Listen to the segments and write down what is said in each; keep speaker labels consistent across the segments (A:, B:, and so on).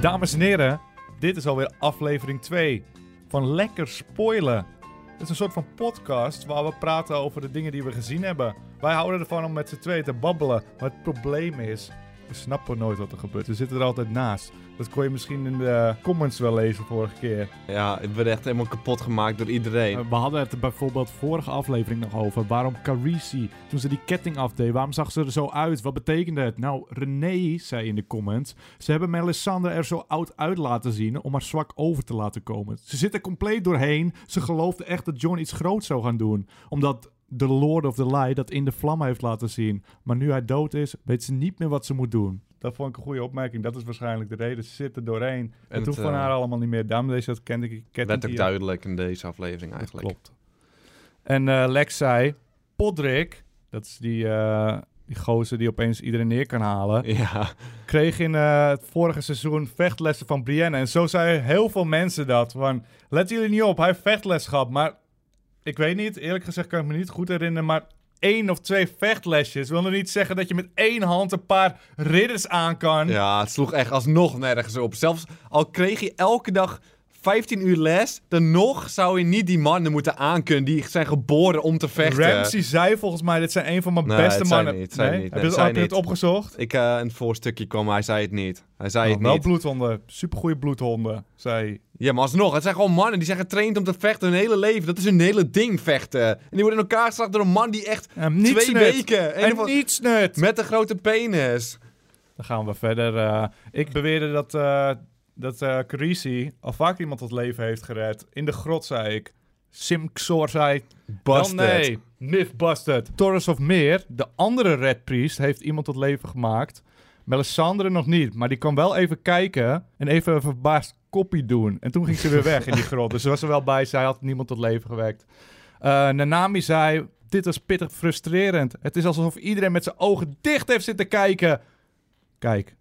A: Dames en heren, dit is alweer aflevering 2 van Lekker Spoilen. Het is een soort van podcast waar we praten over de dingen die we gezien hebben. Wij houden ervan om met z'n tweeën te babbelen. Maar het probleem is, we snappen nooit wat er gebeurt. We zitten er altijd naast. Dat kon je misschien in de comments wel lezen vorige keer.
B: Ja, ik ben echt helemaal kapot gemaakt door iedereen.
A: Oh,
C: Eh, We hadden het bijvoorbeeld vorige aflevering nog over. Waarom Carisi, toen ze die ketting afdeed, waarom zag ze er zo uit? Wat betekende het? Nou, René zei in de comments. Ze hebben Melisandre er zo oud uit laten zien om haar zwak over te laten komen. Ze zit er compleet doorheen. Ze geloofde echt dat John iets groots zou gaan doen. Omdat de Lord of the Lie dat in de vlammen heeft laten zien. Maar nu hij dood is, weet ze niet meer wat ze moet doen.
A: Dat vond ik een goede opmerking. Dat is waarschijnlijk de reden. Ze zit er doorheen. En het
B: het,
A: hoeft van
B: eh,
A: haar allemaal niet meer. Daarom deze dat kent ik.
B: Dat
A: Kent
B: werd ook duidelijk in deze aflevering eigenlijk.
A: Klopt. En eh, Lex zei, Podrick, dat is die, eh, die gozer die opeens iedereen neer kan halen,
B: Ja,
A: kreeg in eh, het vorige seizoen vechtlessen van Brienne. En zo zeiden heel veel mensen dat. Van, letten jullie niet op, hij heeft vechtles gehad. Maar ik weet niet, eerlijk gezegd kan ik me niet goed herinneren, maar één of twee vechtlesjes wil nog niet zeggen dat je met één hand een paar ridders aan kan.
B: ja, het sloeg echt alsnog nergens op. Zelfs al kreeg je elke dag 15 uur les, dan nog zou je niet die mannen moeten aankunnen die zijn geboren om te vechten.
A: Ramsey zei volgens mij, dit zijn een van mijn
B: Nee,
A: beste
B: het zijn
A: mannen.
B: niet, het zijn
A: Nee?
B: niet,
A: Heb
B: nee,
A: je
B: het
A: heb
B: zijn
A: je het
B: niet.
A: opgezocht?
B: Ik, eh een voorstukje kwam, maar hij zei het niet. Hij zei
A: Nou,
B: het
A: wel
B: niet.
A: bloedhonden. Supergoeie bloedhonden, zei
B: Ja, maar alsnog, het zijn gewoon mannen die zijn getraind om te vechten hun hele leven. Dat is hun hele ding, vechten. En die worden in elkaar geslagen door een man die echt
A: hem. Niets
B: twee
A: nut.
B: weken...
A: En,
B: een of-
A: niets nut.
B: Met een grote penis.
A: Dan gaan we verder. eh. ik beweerde dat, eh dat eh, Carisi al vaak iemand tot leven heeft gered. In de grot, zei ik. Sim Xor zei...
B: Bastard.
A: Wel nee, myth busted. Torres of Meer, de andere Red Priest, heeft iemand tot leven gemaakt. Melisandre nog niet, maar die kwam wel even kijken en even een verbaasd koppie doen. En toen ging ze weer weg in die grot. Dus ze was er wel bij, zij had niemand tot leven gewekt. Eh, Nanami zei, dit was pittig frustrerend. Het is alsof iedereen met zijn ogen dicht heeft zitten kijken. Kijk,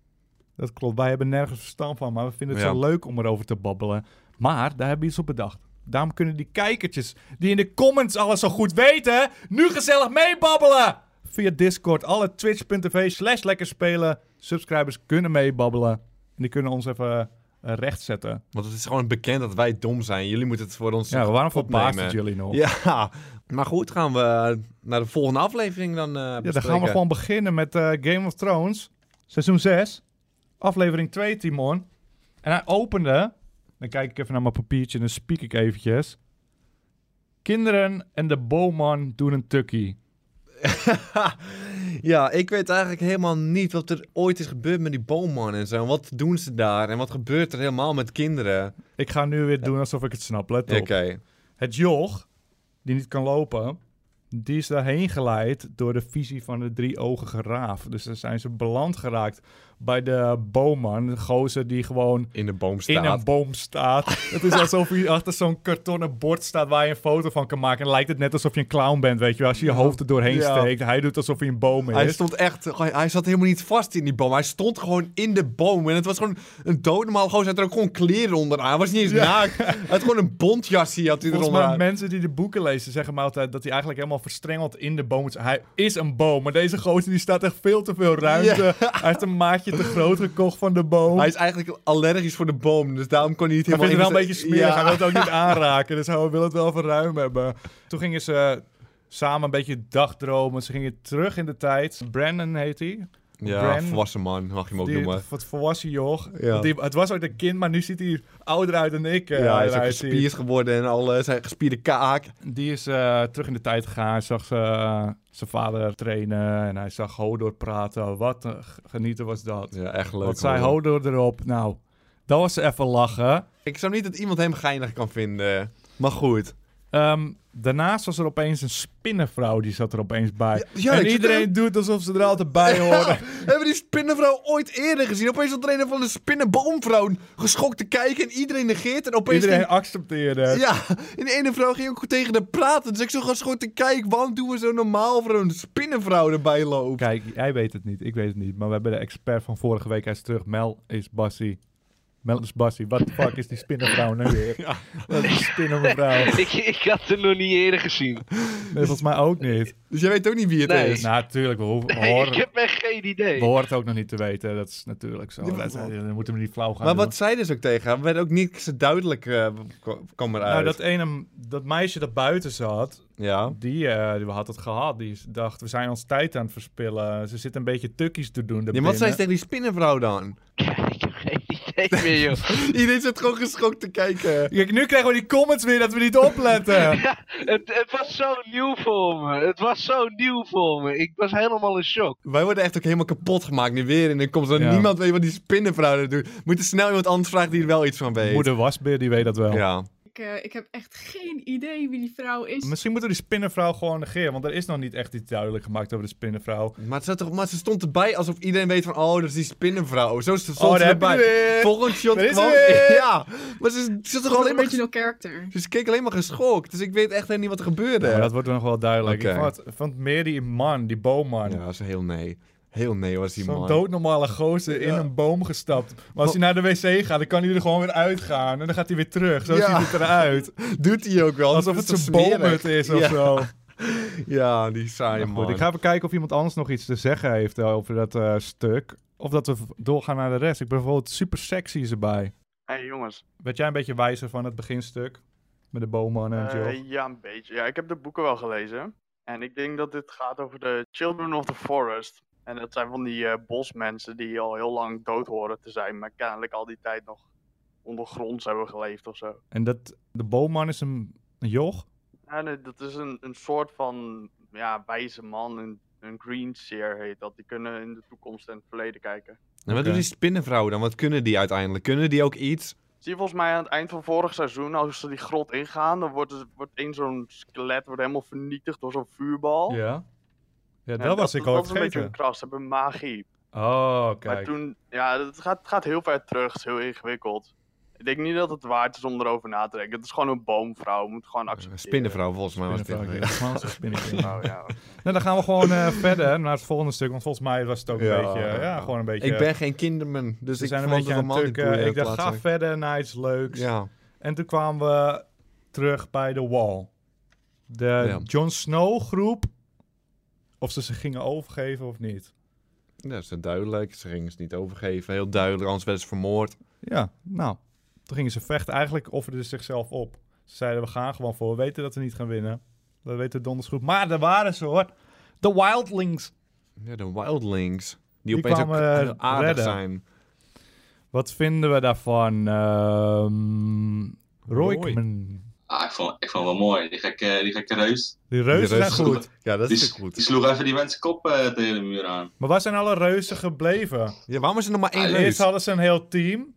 A: dat klopt. Wij hebben nergens verstand van, maar we vinden het
B: Ja.
A: zo leuk om erover te babbelen. Maar daar hebben we iets op bedacht. Daarom kunnen die kijkertjes, die in de comments alles zo goed weten, nu gezellig meebabbelen. Via Discord, alle twitch.tv slash lekker spelen. Subscribers kunnen meebabbelen. En die kunnen ons even eh, rechtzetten.
B: Want het is gewoon bekend dat wij dom zijn. Jullie moeten het voor ons
A: Ja, waarom
B: opnemen.
A: verbaast het jullie nog?
B: Ja, maar goed, gaan we eh, naar de volgende aflevering dan eh
A: Ja, dan gaan we gewoon beginnen met eh, Game of Thrones, seizoen 6, aflevering 2, Timon. En hij opende, dan kijk ik even naar mijn papiertje en dan spiek ik eventjes. Kinderen en de bowman doen een tukkie.
B: ja, ik weet eigenlijk helemaal niet wat er ooit is gebeurd met die boomman en zo. Wat doen ze daar en wat gebeurt er helemaal met kinderen?
A: Ik ga nu weer doen alsof ik het snap, let op.
B: Oké,
A: Het joch, die niet kan lopen, die is daarheen geleid door de visie van de drieogige raaf. Dus daar zijn ze beland geraakt bij de bowman, de gozer die gewoon
B: in de boom
A: in
B: staat.
A: een boom staat. het is alsof je achter zo'n kartonnen bord staat waar je een foto van kan maken. En lijkt het net alsof je een clown bent, weet je wel. Als je je hoofd er doorheen
B: Ja.
A: steekt. Hij doet alsof hij een boom is.
B: Hij stond echt, hij zat helemaal niet vast in die boom. Hij stond gewoon in de boom. En het was gewoon een doodnormaal gozer. Hij had er ook gewoon kleren onderaan. Hij was niet eens naakt. Hij had gewoon een bontjasje had hij
A: Volgens mij
B: eronder.
A: mensen die de boeken lezen zeggen maar altijd dat hij eigenlijk helemaal verstrengeld in de boom is. Hij is een boom, maar deze gozer die staat echt veel te veel ruimte. Hij heeft een maatje te groot gekocht van de boom.
B: Hij is eigenlijk allergisch voor de boom, dus daarom kon hij niet
A: Hij
B: helemaal...
A: vindt het wel een
B: in
A: beetje
B: zijn-
A: smerig. Hij
B: Ja.
A: wil het ook niet aanraken. Dus hij wil het wel even ruim hebben. Toen gingen ze samen een beetje dagdromen. Ze gingen terug in de tijd. Brandon heet hij.
B: Ja,
A: Bran-
B: volwassen man, mag je hem ook
A: Die,
B: noemen.
A: wat volwassen joch.
B: Ja.
A: Want die- het was ooit een kind, maar nu ziet hij ouder uit dan ik. eh,
B: Ja, hij is ook
A: eruit zie.
B: gespierd geworden en alles. Hij heeft gespierde kaak.
A: Die is eh, terug in de tijd gegaan. Zag ze, eh, zijn vader trainen en hij zag Hodor praten. Wat een g- genieten was dat.
B: Ja, echt leuk.
A: Wat zei
B: hoor.
A: Hodor erop? Nou, dat was even lachen.
B: Ik zou niet dat iemand hem geinig kan vinden. Maar goed.
A: Ehm, daarnaast was er opeens een spinnenvrouw die zat er opeens bij.
B: ja, ik
A: en
B: zit
A: iedereen doet alsof ze er altijd bij horen.
B: Hebben we die spinnenvrouw ooit eerder gezien? Opeens zat er een van de spinnenboomvrouw geschokt te kijken en iedereen negeert. En opeens
A: iedereen
B: ging-
A: accepteerde. het.
B: Ja, en de ene vrouw ging ook tegen hem praten. Dus ik zo geschokt te kijken, waarom doen we zo normaal voor een spinnenvrouw erbij loopt?
A: Kijk, jij weet het niet, ik weet het niet. Maar we hebben de expert van vorige week, hij is terug. Mel is Bassie. Mel is Bassie, what the fuck is die spinnenvrouw nou weer?
B: Ja.
A: Dat is die spinnenvrouw. Nee,
D: ik, ik had hem nog niet eerder gezien.
A: volgens mij ook niet. Nou,
B: Dus jij weet ook niet wie het
D: Nee.
B: is.
A: Natuurlijk, we, horen- we
D: Nee, ik
A: horen,
D: heb echt geen idee.
A: we horen het ook nog niet te weten. Dat is natuurlijk zo.
B: Ja,
A: Dat-
B: maar-
A: Dan moeten we niet flauw gaan
B: maar
A: doen.
B: wat zeiden ze ook tegen haar? Werd ook niks duidelijk, eh, k- kwam eruit.
A: Nou, dat ene, dat meisje dat buiten zat,
B: Ja.
A: die, eh, die had het gehad. Die is- dacht, we zijn ons tijd aan het verspillen. Ze zit een beetje tukkies te doen
B: Ja,
A: daarbinnen.
B: maar wat zei ze tegen die spinnenvrouw dan?
D: Ik heb geen idee meer, joh.
B: Iedereen zit gewoon geschokt te kijken.
A: Kijk, nu krijgen we die comments weer dat we niet opletten.
D: Ja, het, het was zo nieuw voor me. Het was zo nieuw voor me. Ik was helemaal in shock.
B: Wij worden echt ook helemaal kapot gemaakt nu weer. En dan komt er
A: Ja.
B: niemand weet wat die spinnenvrouw daar doet. We moeten snel iemand anders vragen die er wel iets van weet.
A: Moeder Wasbeer, die weet dat wel.
B: Ja.
E: Ik, eh, ik heb echt geen idee wie die vrouw is.
A: Misschien moeten we die spinnenvrouw gewoon negeren, want er is nog niet echt iets duidelijk gemaakt over de spinnenvrouw.
B: Maar, het zat toch, maar ze stond erbij alsof iedereen weet van, oh, dat is die spinnenvrouw. Zo stond
A: Oh,
B: ze
A: daar heb je
B: erbij.
A: weer.
B: Volgend shot
A: Daar is
B: kwam...
A: ze weer.
B: Ja, maar ze, ze zat toch
E: Original
B: alleen maar...
E: character.
B: Dus ik keek alleen maar geschokt. Dus ik weet echt helemaal niet wat er gebeurde.
A: Maar Oh, dat wordt nog wel duidelijk.
B: Oké.
A: Ik vond, het- vond meer die man, die boomman.
B: Ja, dat is heel nee. Heel nee was die
A: Zo'n
B: man.
A: doodnormale gozer in
B: Ja.
A: een boom gestapt. Maar als hij naar de wc gaat, dan kan hij er gewoon weer uitgaan. En dan gaat hij weer terug. Zo
B: Ja.
A: ziet het eruit.
B: Doet hij ook wel.
A: Alsof
B: dat
A: het
B: is
A: zijn
B: toch smerig?
A: boomhut is of
B: ja.
A: zo.
B: Ja, die saaie
A: Maar
B: man.
A: Goed, ik ga even kijken of iemand anders nog iets te zeggen heeft eh, over dat eh, stuk. Of dat we v- doorgaan naar de rest. Ik ben bijvoorbeeld super sexy is erbij.
F: Hé jongens,
A: Werd jij een beetje wijzer van het beginstuk? Met de bomen en het
F: Eh,
A: joch.
F: ja een beetje. Ja, ik heb de boeken wel gelezen. En ik denk dat dit gaat over de Children of the Forest. En dat zijn van die eh, bosmensen die al heel lang dood horen te zijn, maar kennelijk al die tijd nog ondergronds hebben geleefd of zo.
A: En dat, de boomman is een, een joch?
F: Ja, nee, dat is een, een soort van ja, wijze man, een, een green seer heet dat. Die kunnen in de toekomst en het verleden kijken.
B: En wat
A: Oké.
B: doen die spinnenvrouwen dan? Wat kunnen die uiteindelijk? Kunnen die ook iets?
F: Zie je volgens mij aan het eind van vorig seizoen, als ze die grot ingaan, dan wordt, het- wordt één zo'n skelet wordt helemaal vernietigd door zo'n vuurbal.
A: Ja. Ja, dat
F: Oh. En
A: was ik al
F: Dat is een beetje
A: vergeten.
F: een kras, ze hebben magie.
A: Oh,
F: Maar
A: kijk.
F: toen, ja, het gaat, het gaat heel ver terug, het is heel ingewikkeld. Ik denk niet dat het waard is om erover na te denken. Het is gewoon een boomvrouw, je moet gewoon
B: Een
F: accepteren.
B: spinnenvrouw volgens mij was dit.
A: Eh, Spinnenvrouw, ja, dat is gewoon zo'n spinnetje.
F: Oh, ja.
A: Nou, dan gaan we gewoon eh, verder naar het volgende stuk. Want volgens mij was het ook een
B: Ja.
A: beetje... eh, Ja, gewoon een beetje...
B: Ik ben geen kinderman, dus
A: we
B: ik
A: zijn een
B: veranderde
A: beetje aan
B: van
A: het
B: man in
A: tukken.
B: toen, eh,
A: Ik dacht, ga
B: plaatselijk.
A: verder naar iets leuks.
B: Ja.
A: En toen kwamen we terug bij de Wall. De
B: Ja.
A: Jon Snow groep. Of ze ze gingen overgeven of niet.
B: Ja, dat is duidelijk. Ze gingen ze niet overgeven. Heel duidelijk, anders werden ze vermoord.
A: Ja, nou. Toen gingen ze vechten. Eigenlijk offerden ze zichzelf op. Ze zeiden, we gaan gewoon voor. We weten dat we niet gaan winnen. We weten het donders goed. Maar daar waren ze hoor. De Wildlings.
B: Ja, de wildlings. Die,
A: Die
B: opeens ook
A: kwamen, eh,
B: eh, aardig
A: redden.
B: zijn.
A: Wat vinden we daarvan? Ehm
B: Roy.
A: Roykman.
G: Ah, ik vond, ik vond hem wel mooi. Die gekke, die gekke reus.
A: Die
B: Die
A: reuzen zijn
B: reuzen
A: goed.
B: sloegen- Ja, dat
G: Die,
B: is
G: s-
B: natuurlijk goed.
G: die sloeg even die mensen kop eh, tegen de muur aan.
A: Maar waar zijn alle reuzen gebleven?
B: Ja, waarom is er nog maar één
G: Ah,
A: Eerst
B: reus?
A: hadden ze een heel team.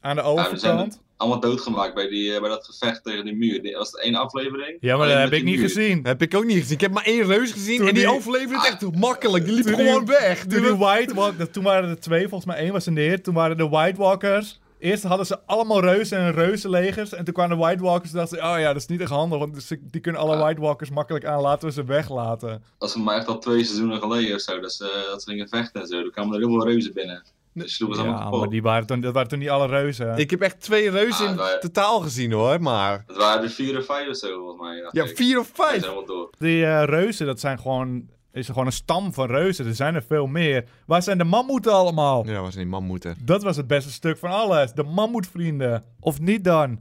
A: Aan de
G: Ja, we zijn
A: overkant.
G: allemaal doodgemaakt bij, die, eh, bij dat gevecht tegen die muur. Die- Dat was de ene aflevering.
A: Ja, maar
G: Alleen
A: dat heb
G: met
A: ik
G: die
A: niet
G: muur.
A: gezien.
B: Heb ik ook niet gezien. Ik heb maar één reus gezien
A: Toen
B: en die,
A: die- Ah!
B: overleefde het echt makkelijk. Die liep
A: Toen
B: gewoon
A: die-
B: weg.
A: Toen de White Walkers, toen waren er twee, volgens mij één was er neer. Toen waren de White Walkers. Eerst hadden ze allemaal reuzen en reuzenlegers. En toen kwamen de White Walkers en dachten ze, oh ja, dat is niet echt handig. Want ze- die kunnen alle White Walkers makkelijk aan, laten we ze weglaten.
G: Dat was voor mij echt al twee seizoenen geleden of zo. Dat ze, eh, dat ze gingen vechten en zo. Toen kwamen er heel veel reuzen binnen. Dus sloegen ze allemaal kapot.
A: die waren toen, dat waren toen niet alle reuzen.
B: Ik heb echt twee reuzen
G: Ah,
B: in
G: wij-
B: totaal gezien hoor, maar...
G: Dat waren er vier of vijf of zo, volgens mij. dacht
B: Ja,
G: ik.
B: vier of
G: Ze zijn
B: vijf.
G: helemaal door.
A: Die eh, reuzen, dat zijn gewoon, is gewoon een stam van reuzen. Er zijn er veel meer. Waar zijn de mammoeten allemaal?
B: Ja, was een mammoeter.
A: Dat was het beste stuk van alles. De mammoetvrienden. Of niet dan?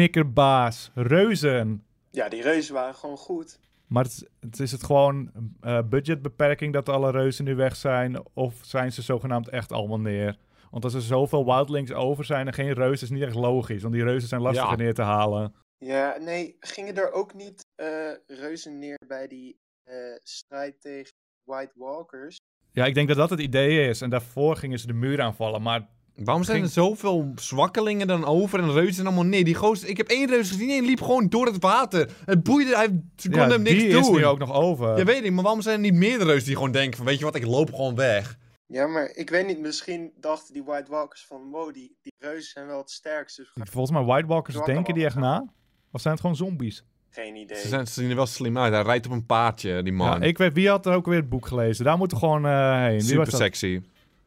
A: Knikkerbaas. Reuzen.
H: Ja, die reuzen waren gewoon goed.
A: Maar het, is- het is het gewoon eh, budgetbeperking dat alle reuzen nu weg zijn? Of zijn ze zogenaamd echt allemaal neer? Want als er zoveel wildlings over zijn en geen reuzen, is niet echt logisch. Want die reuzen zijn lastiger
B: Ja.
A: neer te halen.
H: Ja, nee, gingen er ook niet eh, reuzen neer bij die eh, strijd tegen White Walkers?
A: Ja, ik denk dat dat het idee is. En daarvoor gingen ze de muur aanvallen. Maar
B: Waarom zijn
A: Ging-
B: er zoveel zwakkelingen dan over en reuzen allemaal nee? Die gozer, ik heb één reus gezien en die liep gewoon door het water. Het boeide, hij ze kon
A: ja,
B: hem niks
A: die
B: doen.
A: is nu ook nog over.
B: Ja, weet ik, maar waarom zijn er niet meerdere reuzen die gewoon denken van, weet je wat, ik loop gewoon weg.
H: Ja, maar ik weet niet, misschien dachten die White Walkers van, wow, die, die reuzen zijn wel het sterkste. Dus we gaan-
A: Volgens mij, White Walkers
H: Zwak
A: denken die echt
H: allemaal.
A: na? Of zijn het gewoon zombies?
H: Geen idee.
B: Ze, zijn, ze zien er wel slim uit, hij rijdt op een paardje, die man.
A: Ja, ik weet, wie had er ook weer het boek gelezen? Daar moeten we gewoon eh, heen. Wie was
B: Super
A: dat?
B: sexy.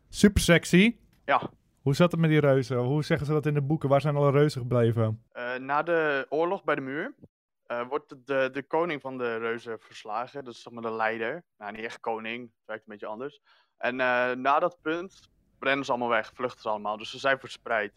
A: Super sexy.
F: ja,
A: Hoe zat het met die reuzen? Hoe zeggen ze dat in de boeken? Waar zijn alle reuzen gebleven?
F: Eh, na de oorlog bij de muur eh, wordt de, de koning van de reuzen verslagen. Dat is zeg maar de leider. Nou, niet echt koning. Het werkt een beetje anders. En eh, na dat punt rennen ze allemaal weg, vluchten ze allemaal. Dus ze zijn verspreid.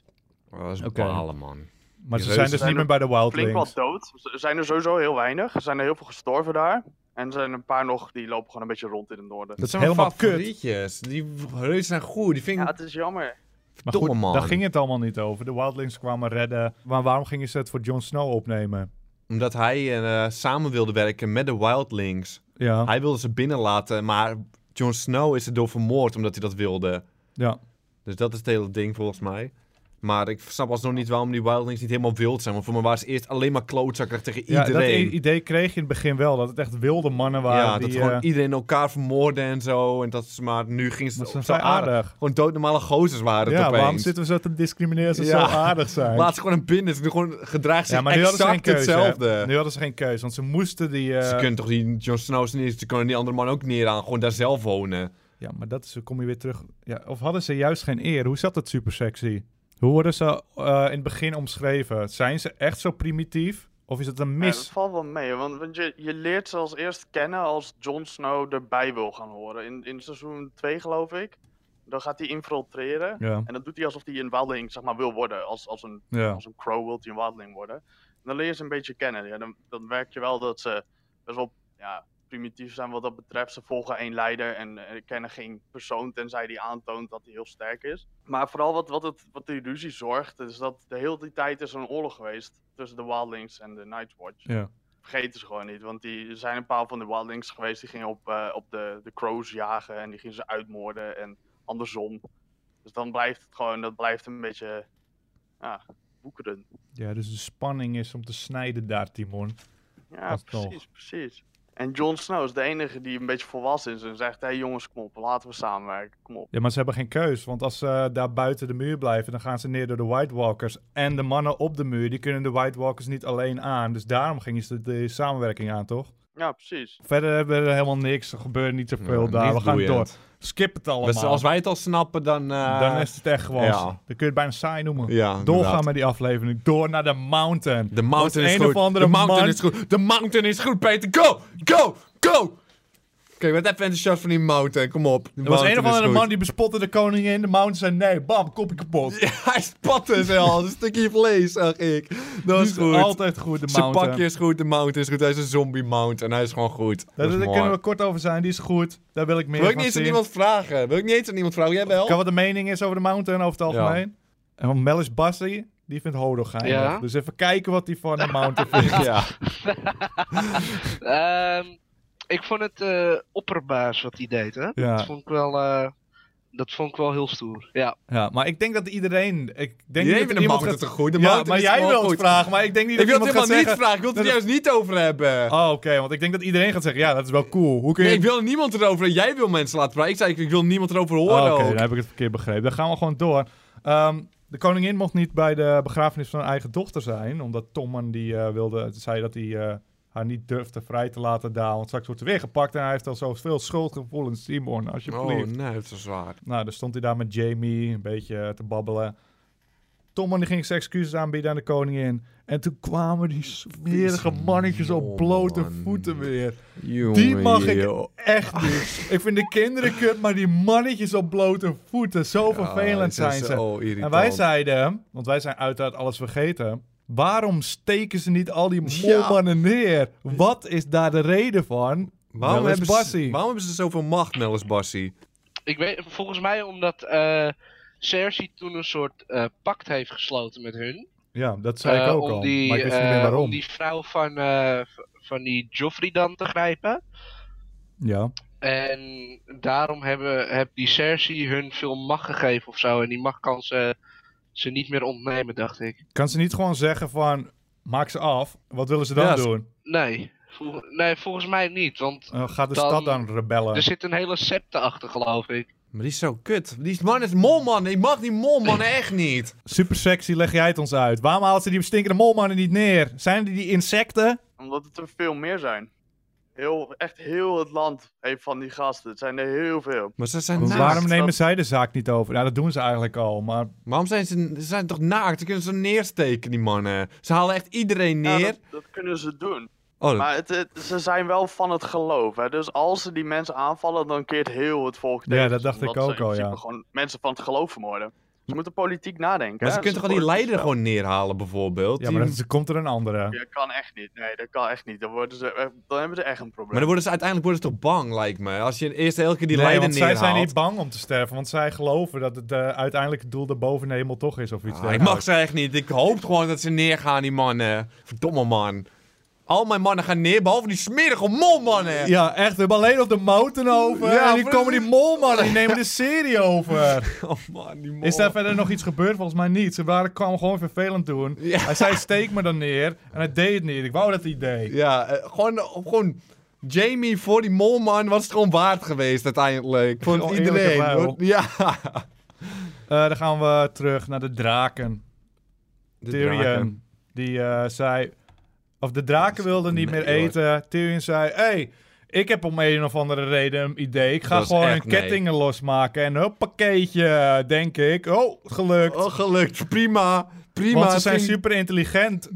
B: Oh, Dat is
A: Oké.
B: balen, man.
A: Maar
B: Die
A: ze zijn
B: reuzen
A: dus
F: zijn
A: niet meer bij de
F: Flink
A: Wildlings.
F: wat dood. Er zijn er sowieso heel weinig. Er zijn er heel veel gestorven daar. En er zijn een paar nog die lopen gewoon een beetje rond in het noorden.
B: Dat zijn
A: Helemaal
B: mijn favorietjes. Die reuzen zijn goed. Die vind
F: Ja,
B: ik...
F: het is jammer.
A: Maar
B: Domme man.
A: daar ging het allemaal niet over. De Wildlings kwamen redden. Maar waarom gingen ze het voor Jon Snow opnemen?
B: Omdat hij eh, samen wilde werken met de Wildlings.
A: Ja,
B: Hij wilde ze binnenlaten, maar Jon Snow is erdoor vermoord omdat hij dat wilde.
A: ja.
B: Dus dat is het hele ding volgens mij. Maar ik snap alsnog niet waarom die Wildlings niet helemaal wild zijn. Want voor mij waren ze eerst alleen maar klootzakken tegen
A: ja dat
B: iedereen.
A: i- idee kreeg je in het begin wel. Dat het echt wilde mannen waren.
B: ja,
A: die,
B: dat gewoon
A: eh,
B: iedereen elkaar vermoorden en zo. En dat is maar nu gingen ze
A: maar ze zijn
B: zo
A: vrij
B: aardig.
A: aardig.
B: Gewoon doodnormale gozers waren het
A: Ja, waarom
B: opeens.
A: zitten we zo te discrimineren als ze
B: Ja.
A: zo aardig zijn?
B: Laat ze gewoon een binnen. Ze doen gewoon gedragen zich
A: ja, maar nu hadden ze geen
B: exact
A: keuze. hè.
B: hetzelfde.
A: Nu hadden ze geen keuze, want ze moesten die... eh,
B: Ze kunnen toch die Jon Snow's neer, ze kunnen die andere man ook neer aan. Gewoon daar zelf wonen.
A: Ja, maar dat is, kom je weer terug. Ja, of hadden ze juist geen eer? Hoe zat dat super sexy? Hoe worden ze eh, in het begin omschreven? Zijn ze echt zo primitief? Of is het een
F: Ja, dat
A: mis?
F: valt wel mee, want, want je, je leert ze als eerst kennen als Jon Snow erbij wil gaan horen. In, in seizoen 2 geloof ik. Dan gaat hij infiltreren.
A: Ja,
F: En dat doet hij alsof hij een wildling zeg maar, wil worden. Als, als, een,
A: ja.
F: als een crow wil hij een wildling worden. En dan leer je ze een beetje kennen. Ja, dan, dan merk je wel dat ze best wel ja, primitief zijn wat dat betreft. Ze volgen één leider en eh, kennen geen persoon tenzij die aantoont dat hij heel sterk is. Maar vooral wat, wat, het, wat die ruzie zorgt, is dat de hele die tijd is er een oorlog geweest tussen de wildlings en de Nightwatch.
A: Ja.
F: Vergeet ze gewoon niet, want die er zijn een paar van de wildlings geweest die gingen op, eh, op de, de crows jagen en die gingen ze uitmoorden en andersom. Dus dan blijft het gewoon, dat blijft een beetje, ja, boekeren.
A: ja, dus de spanning is om te snijden daar, Timon.
F: Ja,
A: Dat is
F: precies, precies. En Jon Snow is de enige die een beetje volwassen is en zegt: hé hey jongens, kom op, laten we samenwerken, kom op.
A: Ja, maar ze hebben geen keus. Want als ze eh, daar buiten de muur blijven, dan gaan ze neer door de White Walkers. En de mannen op de muur, die kunnen de White Walkers niet alleen aan. Dus daarom gingen ze de, de samenwerking aan, toch?
F: Ja, precies.
A: Verder hebben we er helemaal niks. Er gebeurt niet zoveel
B: Ja,
A: daar.
B: niet
A: We gaan
B: boeiend.
A: door. Skip het allemaal.
B: Dus als wij het al snappen, dan... eh,
A: Dan is het echt gewoon.
B: ja.
A: Dan kun je het bijna saai noemen.
B: Ja,
A: Doorgaan
B: inderdaad.
A: met die aflevering. Door naar de mountain.
B: De mountain
A: Dat
B: is
A: een
B: goed.
A: of andere
B: De mountain
A: man-
B: is goed. De mountain is goed, Peter. Go! Go! Go! Kijk, wat even enthousiast van die mountain. Kom op. De
A: Er was een
B: mountain
A: of andere
B: is
A: man
B: goed.
A: die bespotte de koningin. De mountain zei nee, bam, kopje kapot.
B: Ja, hij spatte zelfs. Een stukje vlees, zag ik. Dat
A: Die
B: is
A: is
B: goed.
A: Altijd goed, de
B: Zijn
A: mountain.
B: pakje is goed, de mountain is goed. Hij is een zombie mountain. Hij is gewoon goed. Dat,
A: Daar,
B: is
A: daar
B: mooi.
A: kunnen we kort over zijn. Die is goed. Daar wil ik meer
B: Wil ik
A: van
B: niet eens aan
A: zien.
B: iemand vragen. Wil ik niet eens aan iemand vragen. Jij wel?
A: Kan wat de mening is over de mountain over het algemeen. En van Melis Bassi, die vindt Hodor geinig.
D: Ja.
A: Dus even kijken wat die van de mountain vindt.
B: Ja.
D: Ehm, ik vond het eh, opperbaas wat hij deed, hè? Dat
A: ja.
D: vond ik wel, eh, dat vond ik wel heel stoer. Ja,
A: ja, maar ik denk dat iedereen... Ik denk
B: Die
A: niet
B: heeft
A: dat
B: een
A: iemand
B: mountain
A: gaat-
B: toch goed? De
A: Ja,
B: mountain
A: maar
B: is
A: jij
B: gewoon
A: wil
B: goed.
A: het vragen, maar ik denk niet dat
B: Ik wil het
A: iemand gaat
B: helemaal niet
A: zeggen...
B: vragen. Ik wil het er
A: dat-
B: juist niet over hebben.
A: Oh, oké, want ik denk dat iedereen gaat zeggen, ja, dat is wel cool. Hoe kun je...
B: Nee, ik wil niemand erover. Jij wil mensen laten praten. Ik zei, ik, ik wil niemand erover horen.
A: Oh, Oké,
B: ook.
A: dan heb ik het verkeerd begrepen. Dan gaan we gewoon door. Ehm, de koningin mocht niet bij de begrafenis van haar eigen dochter zijn, omdat Tommen die eh, wilde, zei dat hij eh, haar niet durfde vrij te laten daar, want straks wordt ze weer gepakt en hij heeft al zoveel schuldgevoelens, Simon, alsjeblieft.
B: Oh, nee, dat is zwaar.
A: Nou, dan stond hij daar met Jamie een beetje eh, te babbelen. Tommen die ging zijn excuses aanbieden aan de koningin. En toen kwamen die smerige mannetjes op blote
B: man.
A: voeten weer. Die mag ik echt
D: Oh.
A: niet. Ik vind de kinderen kut, maar die mannetjes op blote voeten, zo vervelend zijn ze. En wij zeiden, want wij zijn uiteraard alles vergeten. Waarom steken ze niet al die
B: Ja.
A: molmannen neer? Wat is daar de reden van?
B: Waarom
A: Wel eens
B: hebben, ze,
A: Bassie.
B: waarom hebben ze zoveel macht, Nellis Bassie?
D: ik weet, volgens mij omdat eh Cersei toen een soort eh, pact heeft gesloten met hun.
A: Ja, dat zei ik
D: Eh,
A: ook
D: om
A: al.
D: Die,
A: maar ik wist niet meer
D: eh,
A: waarom.
D: Om die vrouw van, eh, v- van die Joffrey dan te grijpen.
A: Ja.
D: En daarom hebben, heb die Cersei hun veel macht gegeven of zo. En die macht kan ze, ze niet meer ontnemen, dacht ik.
A: Kan ze niet gewoon zeggen van, maak ze af. Wat willen ze dan
B: Ja, ze-
A: doen?
D: Nee, vol- nee volgens mij niet. Want
A: Eh, gaat de
D: Dan- dus-
A: stad dan
B: Oh.
A: rebellen?
D: er zit een hele septe achter, geloof ik.
B: Maar die is zo kut. Die is- man is molman. Ik mag die molman echt niet.
A: Super sexy, leg jij het ons uit. Waarom haalt ze die stinkende molmannen niet neer? Zijn die die insecten?
F: Omdat het er veel meer zijn. Heel, echt heel het land heeft van die gasten. Het zijn er heel veel.
B: Maar ze zijn
A: Maar
B: naakt.
A: Waarom
F: dat-
A: nemen zij de zaak niet over? Ja, dat doen ze eigenlijk al, maar
B: Waarom zijn ze, ze zijn toch naakt? Ze kunnen ze neersteken, die mannen. Ze halen echt iedereen
F: Ja,
B: neer.
F: dat, dat kunnen ze doen.
B: Oh, dat-
F: Maar het, het- ze zijn wel van het geloof. Hè? Dus als ze die mensen aanvallen, dan keert heel het volk tegen.
A: dat dacht
F: omdat
A: ik ook
F: ze in
A: al,
F: principe
A: ja.
F: gewoon mensen van het geloof vermoorden. Ze moeten politiek nadenken.
B: maar
F: hè?
B: ze kunnen toch al die
F: worden-
B: leider gewoon neerhalen, bijvoorbeeld?
A: ja,
B: Die-
A: maar dan ze komt er een andere.
F: Ja, kan echt niet. Nee, dat kan echt niet. Dan, worden ze, eh, dan hebben ze echt een probleem.
B: Maar dan worden ze, uiteindelijk worden ze toch bang, lijkt me. Als je eerst elke keer die
A: Nee,
B: leider
A: want zij
B: neerhaalt.
A: zijn niet bang om te sterven, want zij geloven dat het eh, uiteindelijk het doel de boven de hemel toch is of iets
B: Ah, ik
A: dergelijks.
B: mag ze echt niet. Ik hoop gewoon dat ze neergaan, die mannen. Verdomme, man. Al mijn mannen gaan neer, behalve die smerige molmannen.
A: Ja, echt. We hebben alleen nog de mouten over.
B: Ja,
A: en nu
B: precies.
A: komen die molmannen, die nemen de serie over.
B: Oh, man, die mol.
A: Is daar verder nog iets gebeurd? Volgens mij niet. Ze waren, kwamen gewoon vervelend doen.
B: Ja.
A: Hij zei, steek me dan neer. En hij deed het niet. Ik wou dat hij deed.
B: Ja, eh, gewoon, gewoon... Jamie voor die molman was het gewoon waard geweest, uiteindelijk. Voor
A: Gewoon
B: iedereen.
A: eerlijke ruil.
B: hoor. Ja.
A: Eh, dan gaan we terug naar de draken.
B: De
A: Tyrion.
B: draken.
A: Die eh, zei... Of de draken wilden niet
B: nee,
A: meer
B: hoor.
A: eten. Tyrion zei... hey, ik heb om een of andere reden een idee. Ik ga
B: Dat is
A: gewoon
B: echt
A: een
B: nee.
A: kettingen losmaken. En een pakkeetje, denk ik. Oh, gelukt.
B: Oh, gelukt. Prima. Prima.
A: Want ze zijn
B: Ging-
A: super intelligent.